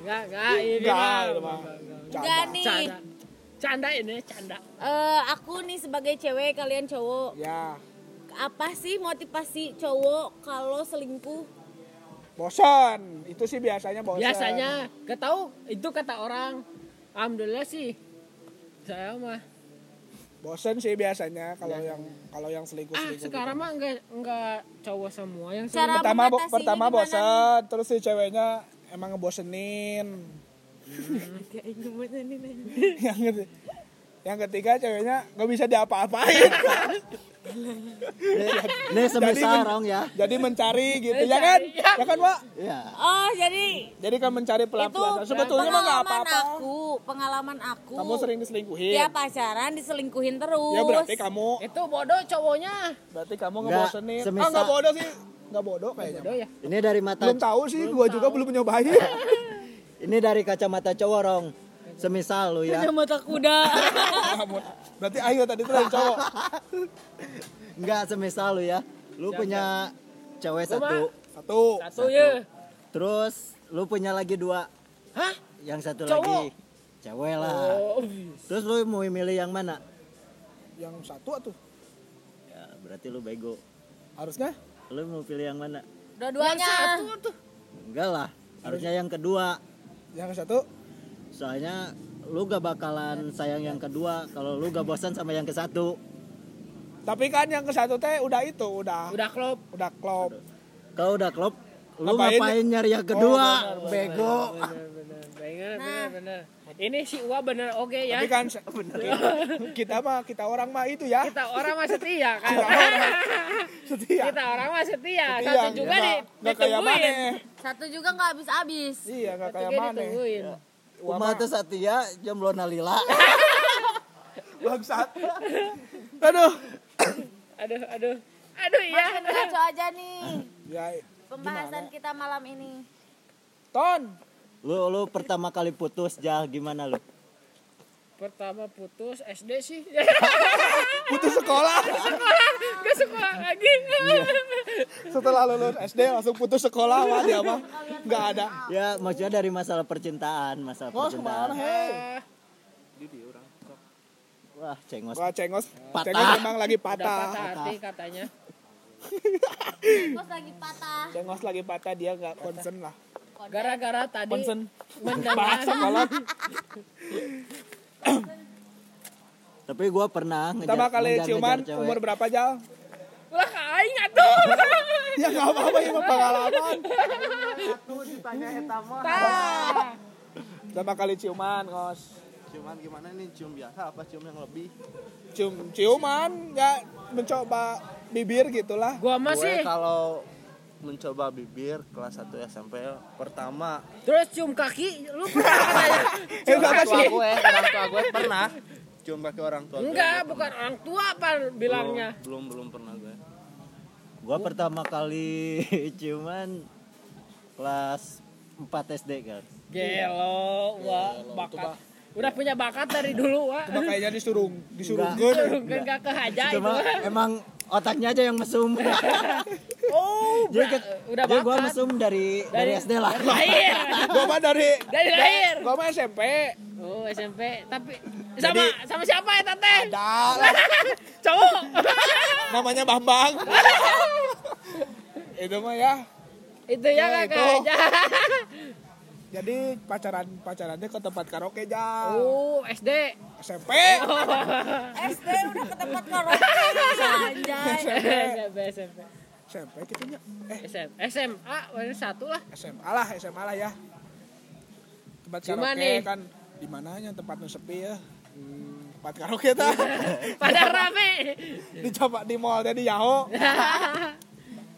Speaker 6: Enggak, enggak ini.
Speaker 1: Enggak,
Speaker 6: mah.
Speaker 1: itu mah.
Speaker 3: enggak
Speaker 1: Canda.
Speaker 3: nih
Speaker 6: Canda. Canda ini, canda.
Speaker 3: Eh, aku nih sebagai cewek kalian cowok
Speaker 1: Ya,
Speaker 3: apa sih motivasi cowok kalau selingkuh
Speaker 1: bosan. Itu sih biasanya bosan.
Speaker 6: biasanya gak tahu itu kata orang alhamdulillah sih saya mah
Speaker 1: Bosan sih biasanya kalau yang kalau yang
Speaker 6: ah
Speaker 1: selingkuh-selingkuh. gitu.
Speaker 6: sekarang mah enggak enggak cowok semua yang
Speaker 3: Cara-
Speaker 6: sering-
Speaker 1: pertama bo-
Speaker 3: mengatasinya
Speaker 1: pertama
Speaker 3: gimana
Speaker 1: bosan terus si ceweknya emang ngebosenin
Speaker 3: Hmm.
Speaker 1: yang ketiga, yang ketiga ceweknya nggak bisa diapa-apain
Speaker 2: Nih semisal
Speaker 1: men-
Speaker 2: rong ya.
Speaker 1: jadi mencari gitu ya kan ya kan pak
Speaker 2: Iya.
Speaker 3: oh jadi
Speaker 1: jadi kan mencari
Speaker 3: itu
Speaker 1: pelampiasan sebetulnya mah nggak
Speaker 3: pengalaman
Speaker 1: apa-apa
Speaker 3: aku pengalaman aku
Speaker 1: kamu sering diselingkuhin
Speaker 3: ya pacaran diselingkuhin terus
Speaker 1: ya berarti kamu
Speaker 6: itu bodoh cowoknya
Speaker 1: berarti kamu
Speaker 2: Nggak,
Speaker 1: ngebosenin ah
Speaker 2: semisal-
Speaker 1: nggak bodoh sih nggak bodoh kayaknya
Speaker 6: Bodoh ya.
Speaker 2: Ini dari mata
Speaker 1: belum tahu sih gua juga belum nyobain
Speaker 2: ini dari kacamata cowok, Rong. Semisal lu ya.
Speaker 3: Ada mata kuda.
Speaker 1: Ampun. berarti ayo tadi tuh yang cowok
Speaker 2: Enggak, semisal lu ya. Lu punya cewek satu,
Speaker 1: satu
Speaker 6: Satu ya.
Speaker 2: terus lu punya lagi dua.
Speaker 6: Hah?
Speaker 2: Yang satu lagi
Speaker 6: Cowok?
Speaker 2: cewek lah.
Speaker 6: Oh,
Speaker 2: Terus lu mau milih yang mana?
Speaker 1: yang satu atuh
Speaker 2: Ya, berarti lu bego.
Speaker 1: harusnya
Speaker 2: Lu mau pilih yang mana?
Speaker 3: Dua-duanya.
Speaker 2: Enggak lah, harusnya yang kedua.
Speaker 1: yang satu
Speaker 2: Soalnya lu gak bakalan sayang yang kedua kalau lu gak bosan sama yang ke satu.
Speaker 1: tapi kan yang ke satu teh udah itu udah
Speaker 6: udah klop.
Speaker 1: udah klop
Speaker 2: Kalau udah klop, lu
Speaker 1: Ngapain?
Speaker 2: ngapain, nyari
Speaker 6: Oh,
Speaker 2: yang kedua? Bego.
Speaker 6: Iya, Bener, bener, bener, bener. Ini si Uwa bener oke ya.
Speaker 1: tapi kan kita mah kita orang mah itu ya
Speaker 6: Kita orang mah setia kan.
Speaker 1: Iya, setia
Speaker 6: Kita orang mah setia.
Speaker 1: Setia.
Speaker 6: Satu juga
Speaker 1: Nggak-
Speaker 6: nih
Speaker 1: nggak kayak
Speaker 6: ditungguin.
Speaker 1: mana
Speaker 3: Satu juga nggak habis-habis.
Speaker 1: iya nggak
Speaker 6: Satu
Speaker 1: kayak
Speaker 6: juga
Speaker 1: mana Iya.
Speaker 6: ditungguin.
Speaker 2: Kuma tuh Satya, jomblona lila.
Speaker 1: bangsat aduh
Speaker 6: Aduh, aduh. Aduh iya.
Speaker 3: Makin ngaco aja nih
Speaker 1: ya
Speaker 3: pembahasan kita malam ini.
Speaker 1: ton
Speaker 2: lu lu pertama kali putus jah gimana lu?
Speaker 6: Pertama putus SD sih.
Speaker 1: putus sekolah Iya.
Speaker 6: Gak sekolah lagi.
Speaker 1: setelah lulus SD langsung putus sekolah wah dia mah nggak ada
Speaker 2: Ya maksudnya dari masalah percintaan, masalah
Speaker 1: Ngos kemana
Speaker 2: percintaan.
Speaker 1: hei
Speaker 2: Wah cengos.
Speaker 1: wah cengos
Speaker 2: Patah.
Speaker 1: cengos memang lagi
Speaker 6: Udah
Speaker 1: patah
Speaker 6: patah hati katanya.
Speaker 3: Terus lagi patah.
Speaker 1: cengos lagi patah dia nggak concern lah
Speaker 6: Gara-gara tadi
Speaker 1: concern bahas
Speaker 6: mendengar
Speaker 1: sekolah
Speaker 2: Tapi gua pernah ngejar,
Speaker 1: pertama kali
Speaker 2: ngejar-ngejar
Speaker 1: ciuman
Speaker 2: cewek.
Speaker 1: umur berapa jal
Speaker 6: ulah ka aing atuh.
Speaker 1: ya nggak apa-apa ya pengalaman
Speaker 6: Tah.
Speaker 1: pertama kali ciuman ngos
Speaker 8: Cuman gimana nih cium biasa apa cium yang lebih?
Speaker 1: cium ciuman ya mencoba bibir gitulah
Speaker 8: Gue
Speaker 6: Gua masih
Speaker 8: kalau mencoba bibir kelas 1 SMP pertama
Speaker 6: terus cium kaki lu pernah katanya.
Speaker 1: eh
Speaker 8: orang
Speaker 1: apa
Speaker 8: tua
Speaker 1: sih
Speaker 8: gue, orang tua gue pernah cium kaki orang tua gue.
Speaker 6: Enggak, bukan orang tua apa bilangnya.
Speaker 8: Belum belum pernah gue.
Speaker 2: Gua pertama kali ciuman kelas 4 SD kan.
Speaker 6: Gelo, wah, bakat. Udah punya bakat dari dulu, wah.
Speaker 1: Cuma kayaknya disuruh disuruh
Speaker 6: Kan gak kehaja itu.
Speaker 2: Cuma emang otaknya aja yang mesum.
Speaker 6: Oh,
Speaker 2: jadi
Speaker 6: bra-
Speaker 2: ke,
Speaker 6: udah
Speaker 2: jadi gua
Speaker 6: bakat.
Speaker 2: mesum dari dari, SD lah.
Speaker 1: Iya.
Speaker 6: Lahir.
Speaker 1: gua mah dari
Speaker 6: Dari lahir.
Speaker 1: gua mah SMP
Speaker 6: Oh, SMP, tapi sama sama siapa ya, Tante?
Speaker 1: dah lah.
Speaker 6: Cowok.
Speaker 1: namanya Bambang itu mah ya
Speaker 6: itu
Speaker 1: Ya,
Speaker 6: ya gak
Speaker 1: itu.
Speaker 6: kehaja.
Speaker 1: jadi pacaran pacarannya ke tempat karaoke jauh
Speaker 6: Oh, SD.
Speaker 1: SMP
Speaker 3: SD udah ke tempat karaoke. Anjay.
Speaker 6: SMP, SMP.
Speaker 1: SMP gitu nya eh
Speaker 6: SM- SMA, waduh, satu lah.
Speaker 1: SMA lah SMA lah ya tempat
Speaker 6: Di mana
Speaker 1: karaoke
Speaker 6: nih?
Speaker 1: kan di mananya tempatnya sepi ya Hmm, tempat karaoke tah
Speaker 6: Pada rame.
Speaker 1: dicoba di mall teh di Yahoo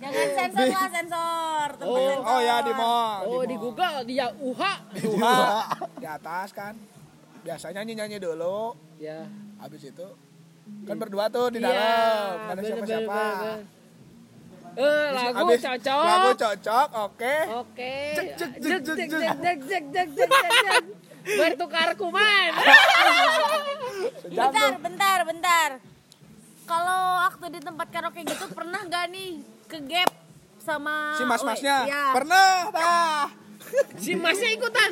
Speaker 3: Jangan sensor lah sensor. Tempat
Speaker 1: oh,
Speaker 3: sensor.
Speaker 1: oh ya di mall
Speaker 6: Oh, di Google dia UHA.
Speaker 1: Duha. di atas kan biasanya nyanyi nyanyi dulu
Speaker 6: Ya.
Speaker 1: habis itu kan berdua tuh di
Speaker 6: Iya,
Speaker 1: dalam nggak ada
Speaker 6: bener,
Speaker 1: siapa
Speaker 6: bener,
Speaker 1: siapa
Speaker 6: bener, bener. Eh, lagu
Speaker 1: Habis-
Speaker 6: cocok.
Speaker 1: lagu cocok oke
Speaker 6: Oke.
Speaker 1: Cek,
Speaker 6: Jek
Speaker 1: cek,
Speaker 6: jek
Speaker 1: cek,
Speaker 6: jek
Speaker 1: cek,
Speaker 6: jek jek jek jek jek jek. Bertukar kuman.
Speaker 1: sejam
Speaker 3: Bentar, bentar, bentar. Kalau waktu di tempat karaoke gitu pernah gak nih ke gap
Speaker 6: Oh,
Speaker 3: sama
Speaker 1: si mas masnya
Speaker 3: Uwe? Iya.
Speaker 1: pernah Ah, tah
Speaker 6: Si Masnya ikutan.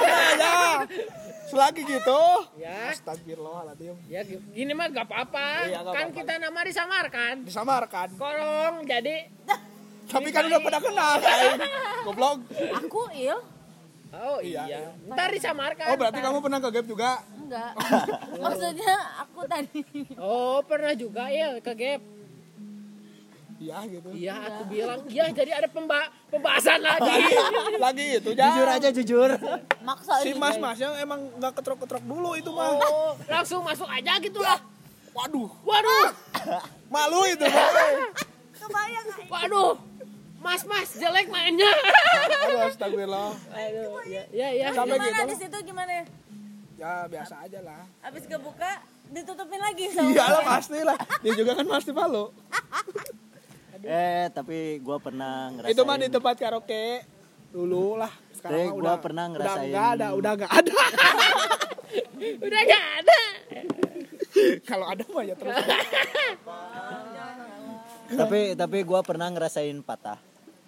Speaker 1: ya selagi gitu
Speaker 6: Ya.
Speaker 1: astagfirullahaladzim
Speaker 6: Ya gini mah gak apa-apa.
Speaker 1: Iya, nggak
Speaker 6: kan
Speaker 1: apa-apa.
Speaker 6: kita nama disamarkan.
Speaker 1: disamarkan
Speaker 6: Iya. Korong jadi
Speaker 1: tapi kan udah pada kenal kan goblok
Speaker 3: Aku il?
Speaker 6: Oh iya.
Speaker 1: Iya.
Speaker 6: Ntar kan? disamarkan.
Speaker 1: oh berarti
Speaker 6: ntar.
Speaker 1: kamu pernah ke gap juga
Speaker 3: Enggak. Maksudnya aku tadi.
Speaker 6: Oh, pernah juga ya ke gap.
Speaker 1: iya gitu
Speaker 6: Iya, aku bilang. Iya, jadi ada pemba pembahasan lagi.
Speaker 1: lagi lagi itu
Speaker 2: Jujur
Speaker 1: ya
Speaker 2: aja jujur.
Speaker 3: Maksa
Speaker 1: si
Speaker 3: ini.
Speaker 1: mas masnya emang nggak ketrok ketrok dulu itu mah
Speaker 6: Oh, langsung masuk aja gitu lah.
Speaker 1: waduh
Speaker 6: Waduh,
Speaker 1: malu itu Bang.
Speaker 3: Kebayang Ai.
Speaker 6: waduh. Mas, mas, jelek mainnya.
Speaker 1: aduh astagfirullah
Speaker 6: Aduh, ya, ya, ya.
Speaker 1: Sampai
Speaker 3: Gimana
Speaker 1: gitu.
Speaker 3: di situ gimana?
Speaker 1: ya biasa aja lah
Speaker 3: Abis
Speaker 1: Iya
Speaker 3: kebuka ditutupin lagi sama
Speaker 1: iyalah pasti lah dia juga kan pasti malu
Speaker 2: eh tapi gua pernah ngerasain
Speaker 1: Itu mah di tempat karaoke dulu lah.
Speaker 2: Teh,
Speaker 1: Sekarang mah
Speaker 2: Eh, gua
Speaker 1: udah
Speaker 2: pernah
Speaker 1: Udah
Speaker 2: ngerasain-
Speaker 1: enggak ada, udah enggak ada.
Speaker 6: Udah gak ada.
Speaker 1: Kalau ada mah ya terus.
Speaker 2: tapi tapi gua pernah ngerasain patah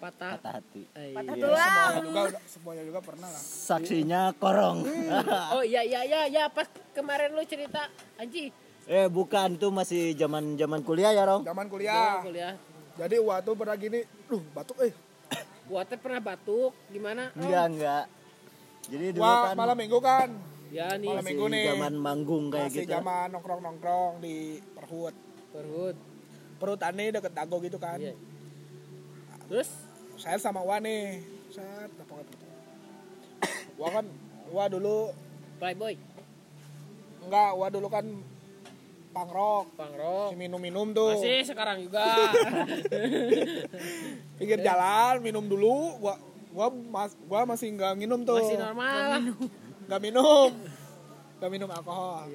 Speaker 6: Patah.
Speaker 2: patah hati
Speaker 1: Semuanya juga udah- semuanya juga pernah lah.
Speaker 2: saksinya korong
Speaker 1: Hmm.
Speaker 6: Oh iya iya iya ya pas kemarin lu cerita Anji
Speaker 2: eh bukan tuh masih zaman zaman kuliah ya rong
Speaker 1: Zaman kuliah.
Speaker 6: kuliah.
Speaker 1: Jadi waktu pernah gini, duh batuk eh.
Speaker 6: Gua teh pernah batuk gimana? Oh, Om?
Speaker 2: enggak enggak jadi dulu
Speaker 1: Wah,
Speaker 2: kan
Speaker 1: malam minggu kan.
Speaker 6: Ya nih
Speaker 1: Malam
Speaker 2: masih
Speaker 1: minggu nih.
Speaker 2: zaman manggung kayak
Speaker 1: Masih
Speaker 2: gitu
Speaker 1: zaman nongkrong-nongkrong di perhut.
Speaker 6: perut.
Speaker 1: Perhut aneh deket dago gitu kan.
Speaker 6: Iya. Terus
Speaker 1: saya sama Wa nih set lapangan Wa kan Wa dulu
Speaker 6: Playboy,
Speaker 1: enggak Wa dulu kan pangrok
Speaker 6: pangrok.
Speaker 1: minum-minum tuh
Speaker 6: Masih sekarang juga.
Speaker 1: pinggir
Speaker 6: Iya.
Speaker 1: jalan minum dulu Wa gua mas gua masih nggak minum tuh
Speaker 6: Masih normal.
Speaker 1: nggak minum nggak minum alkohol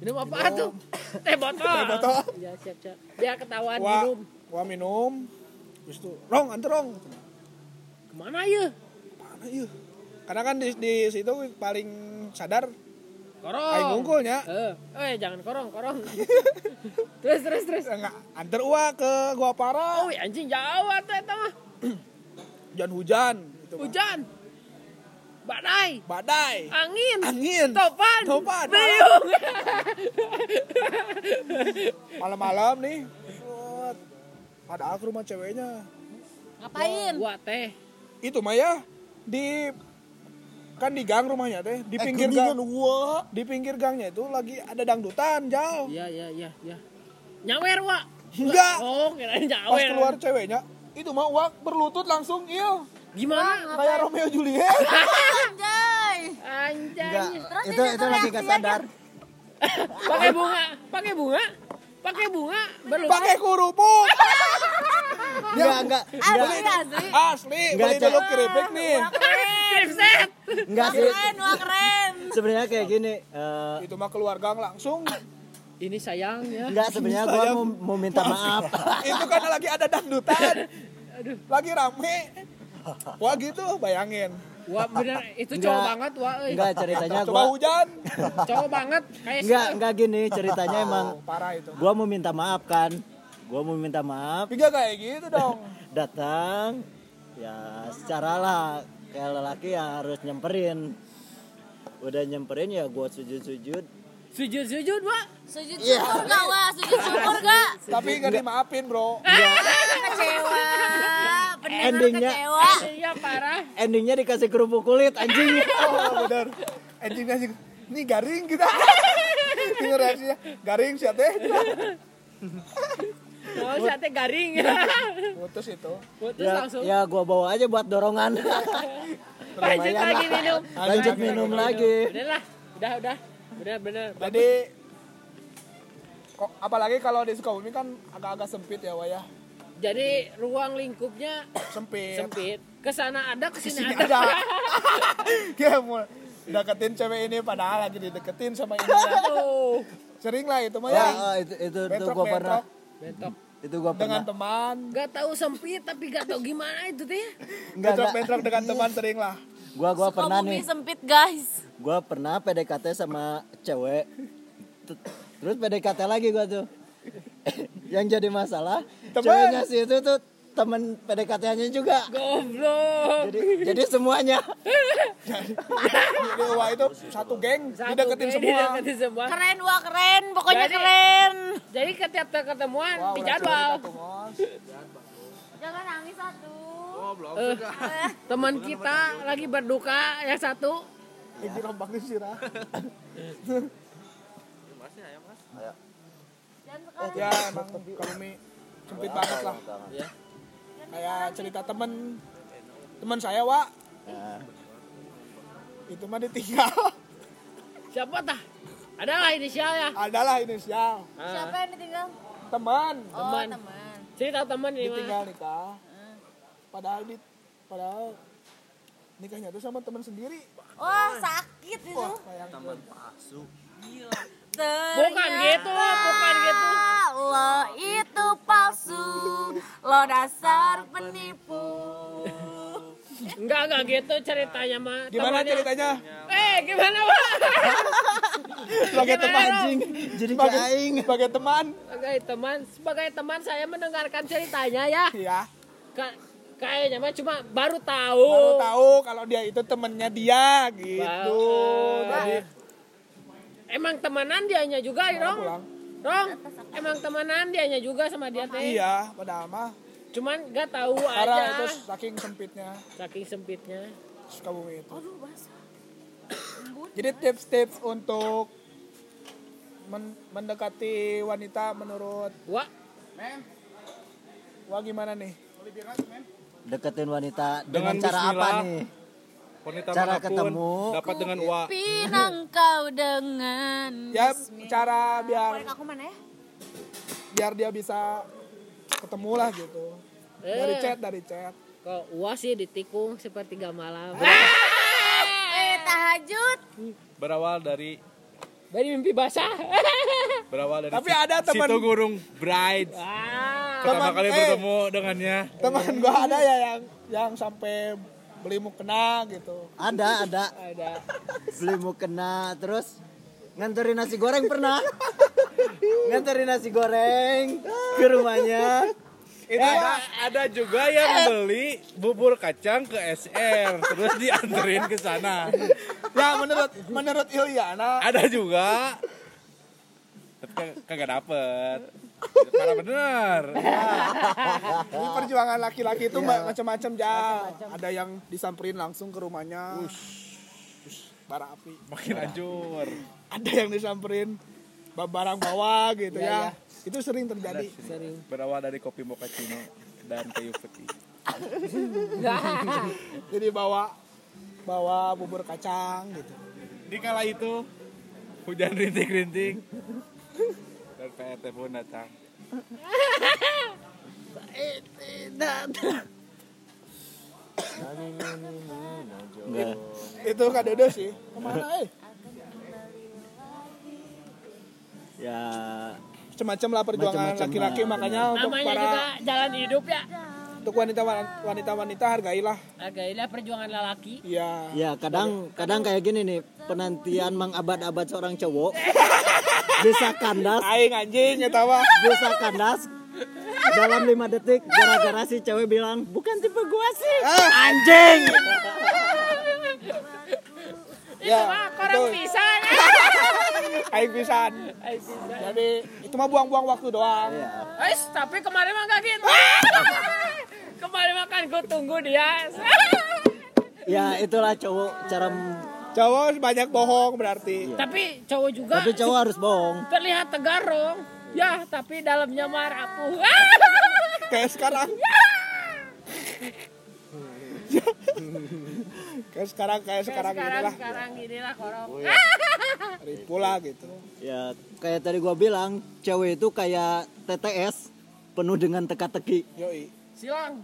Speaker 6: Minum apa tuh? Teh botol.
Speaker 1: Teh botol.
Speaker 6: Ya siap siap. Dia ketahuan
Speaker 1: Wa
Speaker 6: Kan minum.
Speaker 1: Wa minum terus tuh rong antar rong
Speaker 6: Kemana ya?
Speaker 1: mana iya karena kan di, di situ paling sadar
Speaker 6: Korong.
Speaker 1: aing unggulnya
Speaker 6: Eh, eh jangan korong korong. terus terus terus.
Speaker 1: enggak antar Wa ke gua parah
Speaker 6: Oh anjing jauh atuh eta mah.
Speaker 1: hujan hujan gitu, Wa.
Speaker 6: Hujan. Ah. Badai.
Speaker 1: badai
Speaker 6: Angin.
Speaker 1: angin
Speaker 6: Topan.
Speaker 1: Topan.
Speaker 6: Beliung.
Speaker 1: malam-malam nih buat padahal ke rumah ceweknya
Speaker 3: Ngapain?
Speaker 6: Gua teh.
Speaker 1: itu mah ya di kan di gang rumahnya teh di pinggir gang di pinggir gangnya itu lagi ada dangdutan jauh
Speaker 6: Iya iya iya iya. Nyawer wa.
Speaker 1: Enggak.
Speaker 6: Oh kirain nyawer.
Speaker 1: pas keluar ceweknya itu mah wak berlutut langsung iya. il
Speaker 6: Gimana?
Speaker 1: kayak Romeo Juliet
Speaker 3: Anjay.
Speaker 6: Anjay.
Speaker 3: Terus
Speaker 2: itu
Speaker 3: ini
Speaker 2: itu
Speaker 3: tuh
Speaker 2: lagi
Speaker 3: reaksinya
Speaker 2: gak sadar
Speaker 6: Pakai bunga. Pakai bunga. Pakai bunga. Belum.
Speaker 1: pakai kerupuk
Speaker 2: enggak enggak
Speaker 3: Asli asli.
Speaker 2: Iya.
Speaker 1: asli
Speaker 2: Nggak,
Speaker 1: beli dulu
Speaker 2: Cak.
Speaker 1: keripik nih
Speaker 6: Tripset.
Speaker 2: enggak sih
Speaker 3: Keren, wah keren.
Speaker 2: sebenarnya kayak gini eh,
Speaker 1: itu mah keluar gang langsung
Speaker 6: Ini ya. sayangnya.
Speaker 2: enggak sebenarnya gua mau, mau minta maaf
Speaker 1: itu karena lagi ada dangdutan lagi rame wah gitu bayangin
Speaker 6: Wah bener itu
Speaker 2: Enggak.
Speaker 6: cowok banget wah euy.
Speaker 2: enggak ceritanya
Speaker 1: coba
Speaker 2: gua
Speaker 1: hujan
Speaker 6: Cowok banget kayak
Speaker 2: enggak enggak gini ceritanya emang
Speaker 1: Oh, parah itu
Speaker 2: gua mau minta maaf kan gua mau minta maaf
Speaker 1: Tapi gak kayak gitu dong.
Speaker 2: datang ya secara lah kayak lelaki ya harus nyamperin udah nyamperin ya gua sujud-sujud
Speaker 6: sujud-sujud wah.
Speaker 3: Sujud
Speaker 2: Iya.
Speaker 3: syukur gak wah? Sujud syukur gak?
Speaker 1: Tapi gak dimaafin bro.
Speaker 3: Kecewa. Pendengar
Speaker 2: Endingnya-
Speaker 3: kecewa.
Speaker 6: Iya parah.
Speaker 2: endingnya dikasih kerupuk kulit anjing
Speaker 1: Oh bener. Anjingnya sih. Nih garing kita. Ini reaksinya. Garing sih teh.
Speaker 6: Mau sate Oh, garing.
Speaker 1: Putus itu.
Speaker 6: Putus
Speaker 2: ya,
Speaker 6: langsung.
Speaker 2: ya gua bawa aja buat dorongan
Speaker 6: Lanjut lagi minum.
Speaker 2: lanjut minum lagi
Speaker 6: Udah lah. Udah udah. Udah bener.
Speaker 1: Jadi kok apalagi kalau di Sukabumi kan agak-agak sempit ya Waya.
Speaker 6: Jadi ruang lingkupnya
Speaker 1: Sempit.
Speaker 6: sempit. Kesana ada, kesini
Speaker 1: Iya. Sini
Speaker 6: ada.
Speaker 1: ada. ya mau deketin cewek ini padahal lagi dideketin sama ini.
Speaker 6: Aduh.
Speaker 1: Sering lah itu mah
Speaker 2: ya
Speaker 1: ya.
Speaker 2: oh, itu itu itu
Speaker 1: Bentrok,
Speaker 2: gua pernah
Speaker 1: bentrok.
Speaker 6: Bentok.
Speaker 2: itu gua
Speaker 1: Dengan
Speaker 2: pernah
Speaker 1: teman.
Speaker 6: Gak tahu sempit tapi gak tahu gimana itu teh.
Speaker 2: Enggak, enggak.
Speaker 1: Bentrok-bentrok dengan teman sering lah.
Speaker 2: gua gua pernah
Speaker 3: Sukabumi
Speaker 2: nih
Speaker 3: sempit guys.
Speaker 2: gua pernah PDKT sama cewek T- terus PDKT lagi gua tuh yang jadi masalah
Speaker 1: Temen.
Speaker 2: ceweknya si itu tuh temen PDKT-nya juga
Speaker 6: Goblok.
Speaker 2: jadi jadi semuanya
Speaker 1: Jadi Wah itu satu geng
Speaker 6: Satu
Speaker 1: dideketin
Speaker 6: geng,
Speaker 1: semua.
Speaker 6: Dideketin semua.
Speaker 3: Keren wah keren. Pokoknya
Speaker 6: Jadi-
Speaker 3: keren.
Speaker 6: Jadi setiap ketemuan
Speaker 1: Wah,
Speaker 6: di
Speaker 1: orang
Speaker 6: jadwal.
Speaker 1: cewek satu, Mos.
Speaker 3: Jangan nangis satu.
Speaker 6: Eh, Teman kita lagi berduka yang satu.
Speaker 1: Ini rombaknya sirah.
Speaker 3: Jangan sekarang.
Speaker 1: Ya emang kalau mi sempit banget lah. Kayak cerita temen teman saya wa itu mah ditinggal
Speaker 6: Siapa tah? Adalah inisialnya.
Speaker 1: adalah inisial
Speaker 3: Siapa yang ditinggal?
Speaker 1: teman
Speaker 3: Oh teman.
Speaker 6: Cerita teman ini mah.
Speaker 1: ditinggal nikah padahal di padahal nikahnya tuh sama teman sendiri
Speaker 3: Wah sakit itu.
Speaker 8: Taman palsu.
Speaker 3: Ternyata
Speaker 6: Bukan gitu, bukan gitu.
Speaker 3: Lo itu palsu. Lo dasar penipu.
Speaker 6: Enggak, enggak gitu ceritanya mah.
Speaker 1: Gimana
Speaker 6: Temannya-
Speaker 1: ceritanya?
Speaker 6: Eh, gimana, Pak?
Speaker 1: Sebagai teman anjing.
Speaker 2: Jadi
Speaker 1: Sebagai,
Speaker 2: kayak aing.
Speaker 1: sebagai teman.
Speaker 6: Sebagai teman, sebagai teman saya mendengarkan ceritanya ya.
Speaker 1: Ya.
Speaker 6: Ka- kayaknya mah cuma baru tahu.
Speaker 1: Baru tahu kalau dia itu temennya dia gitu.
Speaker 6: Banget.
Speaker 1: Tadi
Speaker 6: Emang temenan dianya juga, Rong.
Speaker 1: pulang.
Speaker 6: Rong, emang temenan dianya juga sama dia teh.
Speaker 1: Iya, padahal mah
Speaker 6: Cuman gak tahu
Speaker 1: karena
Speaker 6: aja.
Speaker 1: itu saking sempitnya
Speaker 6: Saking sempitnya.
Speaker 1: Sukabumi itu. Jadi tips-tips untuk men- mendekati wanita menurut
Speaker 6: Wah,
Speaker 1: Wah gimana nih?
Speaker 2: Deketin wanita dengan,
Speaker 4: Dengan
Speaker 2: cara apa
Speaker 4: bismillah.
Speaker 2: nih?
Speaker 4: Wanita
Speaker 2: Cara
Speaker 4: manapun
Speaker 2: ketemu.
Speaker 4: dapat dengan wa
Speaker 3: Pinang kau dengan.
Speaker 1: Ya cara biar
Speaker 3: Korek aku mana ya?
Speaker 1: biar dia bisa ketemu lah gitu. Dari chat, dari chat.
Speaker 6: kok wah sih ditikung sepertiga malam.
Speaker 3: Eh, tahajud.
Speaker 4: berawal dari
Speaker 6: Dari mimpi basah.
Speaker 4: berawal dari
Speaker 1: Tapi ada teman-
Speaker 4: Situ Gurung Bride.
Speaker 6: Wah.
Speaker 4: Pertama
Speaker 1: Teman-
Speaker 4: kali
Speaker 1: eh.
Speaker 4: bertemu dengannya
Speaker 1: Teman gua ada ya yang yang sampai beli mukena gitu.
Speaker 2: Ada, ada.
Speaker 6: Ada.
Speaker 2: Beli mukena terus nganterin nasi goreng pernah. nganterin nasi goreng ke rumahnya.
Speaker 4: Itu ada, Eh, ada juga yang beli bubur kacang ke SR terus dianterin ke sana.
Speaker 1: Ya menurut menurut Ilyana
Speaker 4: Ada juga tapi kag- kagak dapet. Parah bener.
Speaker 1: ini perjuangan laki-laki itu ma- macam-macam ya. Ada yang disamperin langsung ke rumahnya. Ush, bara api.
Speaker 4: Makin hancur.
Speaker 1: Ada yang disamperin ba- barang bawa gitu ya. Itu sering terjadi.
Speaker 4: Berawal dari kopi mochaccino dan kayu peti.
Speaker 1: Jadi bawa bawa bubur kacang gitu.
Speaker 4: Di kala itu hujan rintik-rintik dan PRT pun datang.
Speaker 2: Enggak.
Speaker 1: Itu Kak Dodo sih. Kemana eh?
Speaker 2: Ya,
Speaker 1: Semacam lah perjuangan
Speaker 2: Macam-macam
Speaker 1: laki-laki
Speaker 2: lah,
Speaker 1: makanya untuk
Speaker 6: Namanya
Speaker 1: para
Speaker 6: juga jalan hidup ya.
Speaker 1: untuk wanita wanita wanita hargailah.
Speaker 6: Agaknya perjuangan lelaki.
Speaker 1: Iya.
Speaker 2: ya kadang kadang kayak gini nih, penantian mengabad-abad seorang cowok bisa kandas,
Speaker 1: Aing anjing ya eta mah.
Speaker 2: bisa kandas dalam lima detik gara-gara si cewek bilang bukan tipe gua sih anjing
Speaker 1: Ya,
Speaker 6: Wah, korang
Speaker 1: betul.
Speaker 6: bisa. ya.
Speaker 1: Aing pisan. Jadi itu mah buang-buang waktu doang.
Speaker 6: Wes, tapi kemarin mah gak gitu. kemarin mah kan gue tunggu dia.
Speaker 2: ya itulah cowok cara m-
Speaker 1: Cowok banyak bohong berarti.
Speaker 6: tapi cowok juga
Speaker 2: tapi cowok harus bohong
Speaker 6: terlihat tegar dong. Ya, tapi dalamnya mah rapuh.
Speaker 1: Kayak sekarang. kayak sekarang kayak sekarang,
Speaker 6: sekarang
Speaker 1: gini
Speaker 6: sekarang gini lah korong.
Speaker 1: lah. Ribu lah gitu.
Speaker 2: ya kayak tadi gua bilang cewek itu kayak TTS penuh dengan teka-teki
Speaker 1: Yoi.
Speaker 6: Silang.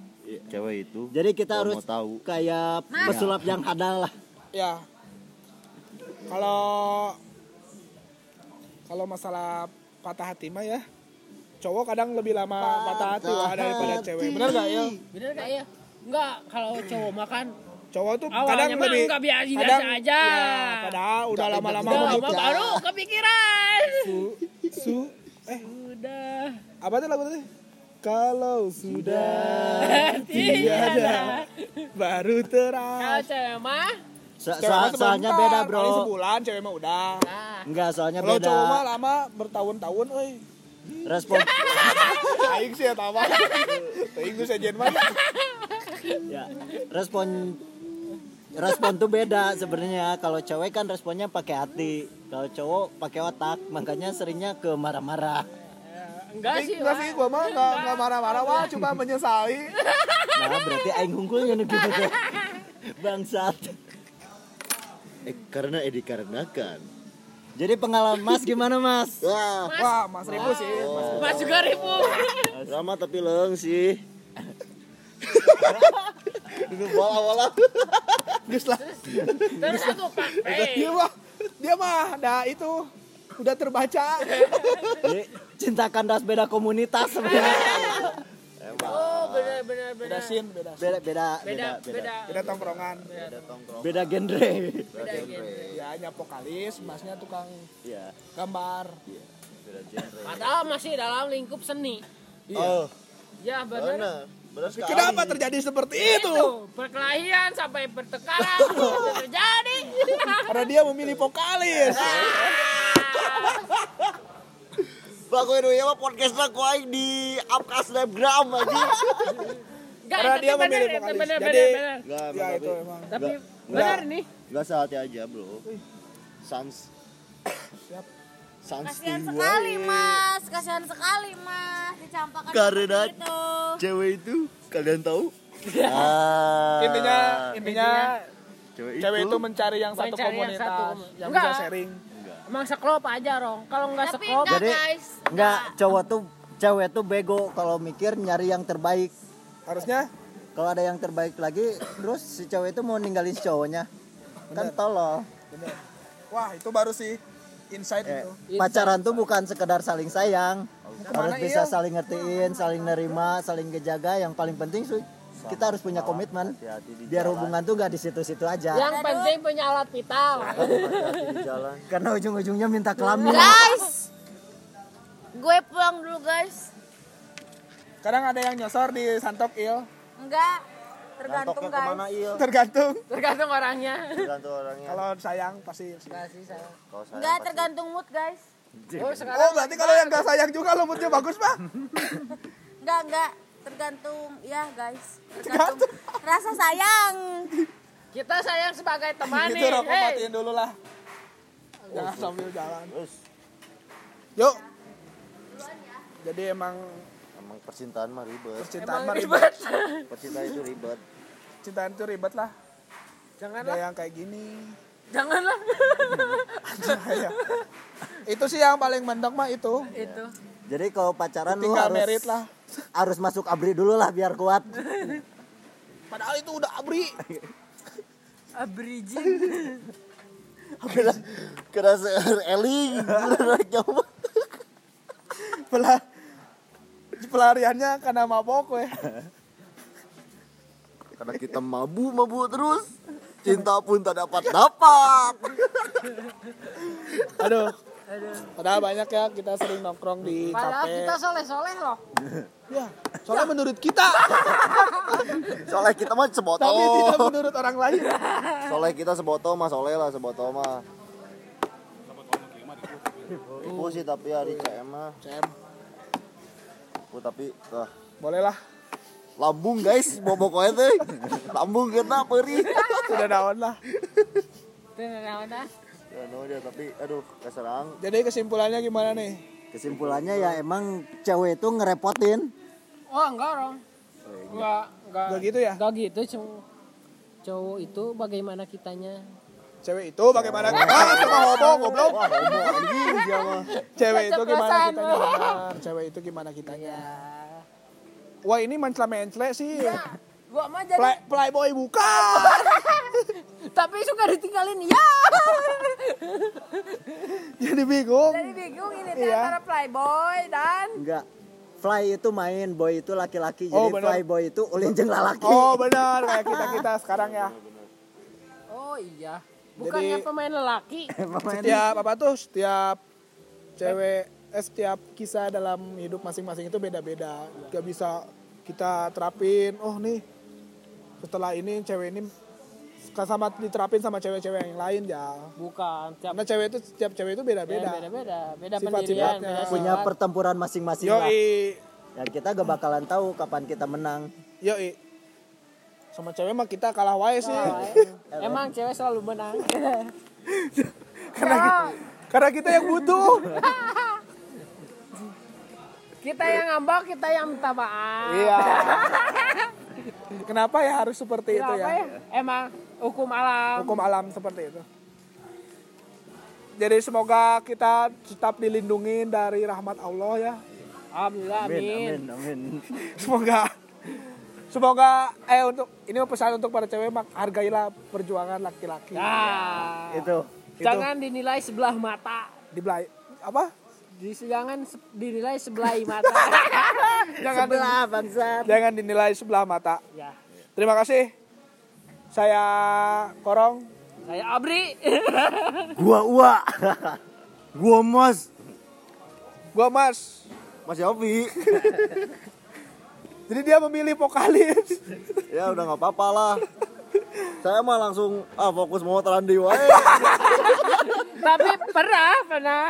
Speaker 5: Cewek itu.
Speaker 2: jadi
Speaker 5: Kalau
Speaker 2: kita harus
Speaker 5: mau tahu. Nah.
Speaker 2: kayak pesulap yang hadal lah
Speaker 1: Ya. Kalau kalau masalah patah hati mah ya cowok kadang lebih lama patah hati wah, daripada cewek. Bener gak ya?
Speaker 6: Bener gak ya? Enggak, kalau cowok makan
Speaker 1: Cowok tuh
Speaker 6: Awalnya
Speaker 1: kadang
Speaker 6: mah
Speaker 1: lebih
Speaker 6: enggak biasa- biasa aja.
Speaker 1: Ya, padahal udah lama-lama
Speaker 6: udah lama
Speaker 1: menikah.
Speaker 6: baru kepikiran.
Speaker 1: Su- su- eh
Speaker 6: Udah
Speaker 1: apa tuh lagu tadi? Kalau sudah
Speaker 6: tiada.
Speaker 1: baru
Speaker 6: Kalau
Speaker 1: terang.
Speaker 6: Ah, cewek mah
Speaker 2: So-
Speaker 1: Cewek mah
Speaker 2: so- soalnya
Speaker 1: sebentar,
Speaker 2: beda
Speaker 1: paling
Speaker 2: bro
Speaker 1: sebulan cewek mah udah.
Speaker 6: nah,
Speaker 2: enggak soalnya
Speaker 1: Kalau
Speaker 2: beda
Speaker 1: cowok mah lama bertahun-tahun, euy.
Speaker 2: respon
Speaker 1: Aing sih eta mah. Aing geus sejen mah.
Speaker 2: ya respon respon tuh beda sebenarnya kalau cewek kan responnya pakai hati kalau cowok pakai otak makanya seringnya ke marah-marah
Speaker 6: enggak sih.
Speaker 1: Enggak sih gua mah enggak enggak marah-marah wah cuma menyesali.
Speaker 2: nah berarti aing hungkulnya nih gitu tuh. bangsat
Speaker 5: Eh, karena eh dikarenakan.
Speaker 2: jadi pengalaman mas gimana mas
Speaker 5: Wah,
Speaker 1: Wah, Mas Ribu sih. Mas-
Speaker 6: Mas juga ribu.
Speaker 5: lama tapi leng sih. Duduk bola-bola.
Speaker 1: Geus lah.
Speaker 6: Terus Eh, aku pakai.
Speaker 1: Dia mah Iya, dia mah nah itu udah terbaca.
Speaker 2: Jadi, cinta kandas beda komunitas sebenarnya
Speaker 6: Oh, bener bener bener.
Speaker 1: beda scene beda
Speaker 2: beda
Speaker 1: scene.
Speaker 2: beda
Speaker 6: Beda
Speaker 2: beda
Speaker 6: beda.
Speaker 1: beda tongkrongan
Speaker 5: ada tongkrong
Speaker 2: beda genre
Speaker 5: beda
Speaker 6: gitu.
Speaker 5: genre
Speaker 1: ya nyapokalis masnya tukang
Speaker 2: ya
Speaker 1: gambar
Speaker 5: beda genre
Speaker 6: Padahal masih dalam lingkup seni. Iya.
Speaker 5: oh
Speaker 6: Ya bener.
Speaker 5: benar Nah, benar sekali
Speaker 1: kenapa terjadi seperti itu
Speaker 6: Itu perkelahian sampai bertekaran itu terjadi.
Speaker 1: karena dia memilih vokalis
Speaker 6: Iya,
Speaker 5: Bagus itu ya mah podcast lah kau aing di upcast snapgram aja
Speaker 6: Gak,
Speaker 1: Karena
Speaker 6: itu
Speaker 1: dia
Speaker 6: bener,
Speaker 1: memilih
Speaker 6: itu
Speaker 1: vokalis.
Speaker 6: bener,
Speaker 1: Jadi-
Speaker 6: bener, bener.
Speaker 5: enggak
Speaker 1: ya itu emang
Speaker 6: Tapi
Speaker 5: Nggak,
Speaker 6: benar
Speaker 5: nggak.
Speaker 6: nih.
Speaker 5: Gak sehati aja bro Sans
Speaker 1: Siap.
Speaker 5: Sans
Speaker 3: Kasihan
Speaker 5: tiwa.
Speaker 3: sekali mas, kasihan sekali mas dicampakan
Speaker 5: ya. Karena-
Speaker 3: seperti itu.
Speaker 5: Cewek itu Kalian tahu? Nah,
Speaker 1: intinya intinya
Speaker 5: Cewek itu,
Speaker 1: cewek itu mencari yang satu
Speaker 6: Mencari yang
Speaker 1: komunitas
Speaker 6: satu.
Speaker 1: yang
Speaker 6: Enggak.
Speaker 1: bisa sharing
Speaker 6: Emang seklop aja, Rong. Kalau nggak
Speaker 3: Tapi
Speaker 6: seklop,
Speaker 3: enggak
Speaker 2: Jadi,
Speaker 3: guys.
Speaker 2: nggak cowok tuh cewek tuh bego kalau mikir nyari yang terbaik
Speaker 1: harusnya
Speaker 2: kalau ada yang terbaik lagi terus si cewek itu mau ninggalin si cowoknya kan tolol
Speaker 1: bener. wah itu baru sih insight
Speaker 2: Eh,
Speaker 1: itu
Speaker 2: pacaran tuh bukan sekedar saling sayang harus
Speaker 1: Kemana
Speaker 2: bisa
Speaker 1: iya?
Speaker 2: saling ngertiin saling nerima saling kejaga yang paling penting sih kita harus punya komitmen
Speaker 5: Hati-hati di
Speaker 2: biar
Speaker 5: jalan.
Speaker 2: hubungan tuh gak di situ-situ aja
Speaker 6: yang penting punya alat vital.
Speaker 5: Hati-hati di jalan
Speaker 2: karena ujung-ujungnya minta kelamin
Speaker 3: Guys. Gue pulang dulu guys.
Speaker 1: kadang ada yang nyosor di santok il
Speaker 3: Enggak.
Speaker 5: Nantoknya
Speaker 3: Tergantung guys.
Speaker 5: kemana iya
Speaker 1: tergantung
Speaker 6: Tergantung orangnya.
Speaker 5: Tergantung orangnya
Speaker 1: kalau sayang pasti
Speaker 6: Kasih saya.
Speaker 5: Kalau saya
Speaker 3: Enggak
Speaker 5: pasti-
Speaker 3: tergantung mood guys.
Speaker 6: Oh,
Speaker 1: oh
Speaker 6: sekarang
Speaker 1: berarti kalau yang gak sayang juga lumutnya bagus pak
Speaker 3: Enggak, enggak. Tergantung ya guys. Tergantung rasa sayang.
Speaker 6: kita sayang sebagai teman
Speaker 1: itu
Speaker 6: nih.
Speaker 1: rokok
Speaker 6: Hey.
Speaker 1: Gitu, matiin dulu lah jangan sambil jalan
Speaker 5: Terus
Speaker 1: yuk jadi emang
Speaker 5: Emang percintaan mah ribet
Speaker 1: percintaan mah ribet.
Speaker 6: ribet.
Speaker 5: Percintaan itu ribet
Speaker 1: Cintaan itu ribet lah. Ada
Speaker 6: Janganlah,
Speaker 1: yang kayak gini.
Speaker 6: janganlah.
Speaker 1: Iya. itu sih yang paling mendok mah itu.
Speaker 6: itu.
Speaker 2: jadi kalau pacaran lu
Speaker 1: Tinggal
Speaker 2: harus
Speaker 1: merit lah.
Speaker 2: harus masuk abri dulu lah biar kuat
Speaker 1: Padahal itu udah abri.
Speaker 6: Abridging.
Speaker 5: Kena- Kena seur eling Beneran nyawa.
Speaker 1: Pelar pelariannya karena mabok weh.
Speaker 5: Karena kita mabu mabu terus Cinta pun tak dapat dapat
Speaker 1: Aduh. Padahal banyak ya kita sering nongkrong di
Speaker 6: Padahal
Speaker 1: kafe.
Speaker 6: kita soleh-soleh loh.
Speaker 1: Ya, soalnya menurut kita,
Speaker 5: Soalnya kita mah sebotol
Speaker 1: tapi
Speaker 6: Oh.
Speaker 1: tidak menurut orang lain.
Speaker 5: Soleh kita sebotol mah soleh lah sebotol mah. Ibu sih tapi hari CM mah,
Speaker 1: Cem,
Speaker 5: aku tapi ah,
Speaker 1: boleh lah.
Speaker 5: lambung guys, bobok koe teh. Lambung kena perih.
Speaker 1: Sudah daun lah.
Speaker 6: Tenang-tenang.
Speaker 5: Ya no dia tapi aduh keserang.
Speaker 1: Jadi kesimpulannya gimana nih?
Speaker 2: kesimpulannya ya emang cewek itu ngerepotin
Speaker 6: Oh, enggak, Rong. Enggak, enggak.
Speaker 1: Udah gitu ya?
Speaker 6: Enggak gitu, cowok. Cowok itu bagaimana kitanya?
Speaker 1: Cewek itu
Speaker 5: Oh.
Speaker 1: bagaimana? Ah, sama homo, goblok.
Speaker 5: Anjing dia mah.
Speaker 1: Cewek itu gimana
Speaker 6: Keceplosan. Iya.
Speaker 1: kitanya? Benar, Cewek itu gimana kitanya? Wah, ini mencela-mencela sih.
Speaker 6: Iya. Gua mah jadi
Speaker 1: Play- playboy bukan.
Speaker 6: tapi suka ditinggalin. Ya.
Speaker 1: Jadi bingung.
Speaker 6: Jadi bingung ini teh
Speaker 1: Iya.
Speaker 6: antara playboy dan
Speaker 2: enggak fly itu main boy itu laki-laki
Speaker 1: Oh,
Speaker 2: jadi
Speaker 1: bener.
Speaker 2: fly boy itu ulin jeung lalaki
Speaker 1: Oh, benar kayak kita-kita sekarang ya.
Speaker 6: Oh iya. Bukannya
Speaker 1: Jadi-
Speaker 6: pemain lelaki.
Speaker 1: Setiap apa tuh? Setiap cewek eh, setiap kisah dalam hidup masing-masing itu beda-beda. Gak bisa kita terapin. Oh, nih. Setelah ini cewek ini suka sama diterapin sama cewek-cewek yang lain ya.
Speaker 6: Bukan, tiap
Speaker 1: Karena cewek itu setiap cewek itu beda-beda.
Speaker 6: beda-beda, beda
Speaker 1: Sifat-sifatnya.
Speaker 6: pendirian, beda
Speaker 2: Ya, punya
Speaker 6: sifat.
Speaker 2: pertempuran masing-masing lah
Speaker 1: Yoi.
Speaker 2: ya kita gak bakalan tahu kapan kita menang
Speaker 1: Yoi. Sama cewek mah kita kalah wae sih.
Speaker 6: Emang cewek selalu menang.
Speaker 1: karena, karena kita yang butuh.
Speaker 6: kita yang ngambek, kita yang minta maaf.
Speaker 1: Iya. Kenapa ya harus seperti itu
Speaker 6: Kenapa
Speaker 1: ya?
Speaker 6: ya? Emang hukum alam.
Speaker 1: Hukum alam seperti itu. Jadi semoga kita tetap dilindungi dari rahmat Allah ya.
Speaker 6: Alhamdulillah, amin.
Speaker 2: amin
Speaker 1: Semoga semoga eh untuk ini pesan untuk para cewek mak hargailah perjuangan laki-laki.
Speaker 6: Nah,
Speaker 2: Ah. Iya. itu
Speaker 6: jangan dinilai sebelah mata.
Speaker 1: Dibelai apa?
Speaker 6: Di- Jangan se- dinilai sebelah mata.
Speaker 1: jangan
Speaker 2: Sebelah bangsat.
Speaker 1: jangan dinilai sebelah mata.
Speaker 9: Ya.
Speaker 1: Terima kasih. Saya Korong.
Speaker 9: Saya Abri.
Speaker 5: Gua Ua. Gua Mas.
Speaker 1: Gua Mas.
Speaker 5: Mas Yofi.
Speaker 1: Jadi dia memilih vokalis.
Speaker 5: Ya udah nggak apa-apa lah. Saya mah langsung ah fokus mau terandi wae.
Speaker 6: Tapi pernah, pernah.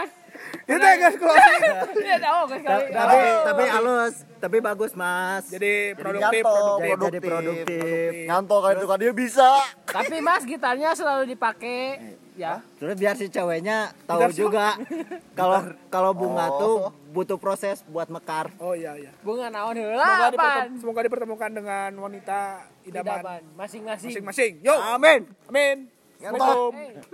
Speaker 1: Itu yang guys closing.
Speaker 6: Ya tahu kan sekali.
Speaker 2: Tapi tapi halus, tapi bagus Mas.
Speaker 1: Jadi produktif,
Speaker 5: nyantok,
Speaker 1: produktif.
Speaker 2: Jadi- jadi produktif.
Speaker 5: Nyantol kan itu kan dia bisa.
Speaker 6: Tapi Mas gitarnya selalu dipakai. Ya.
Speaker 2: Terus biar si ceweknya tahu juga kalau kalau
Speaker 5: Oh.
Speaker 2: bunga tuh butuh proses buat mekar.
Speaker 1: Oh iya iya.
Speaker 6: Bunga naon
Speaker 1: Semoga,
Speaker 6: heula
Speaker 1: dipertem-
Speaker 6: pan.
Speaker 1: semoga dipertemukan dengan wanita idaman
Speaker 6: Idaman masing-masing.
Speaker 1: masing-masing. Yo. Amin. Amin. Assalamualaikum.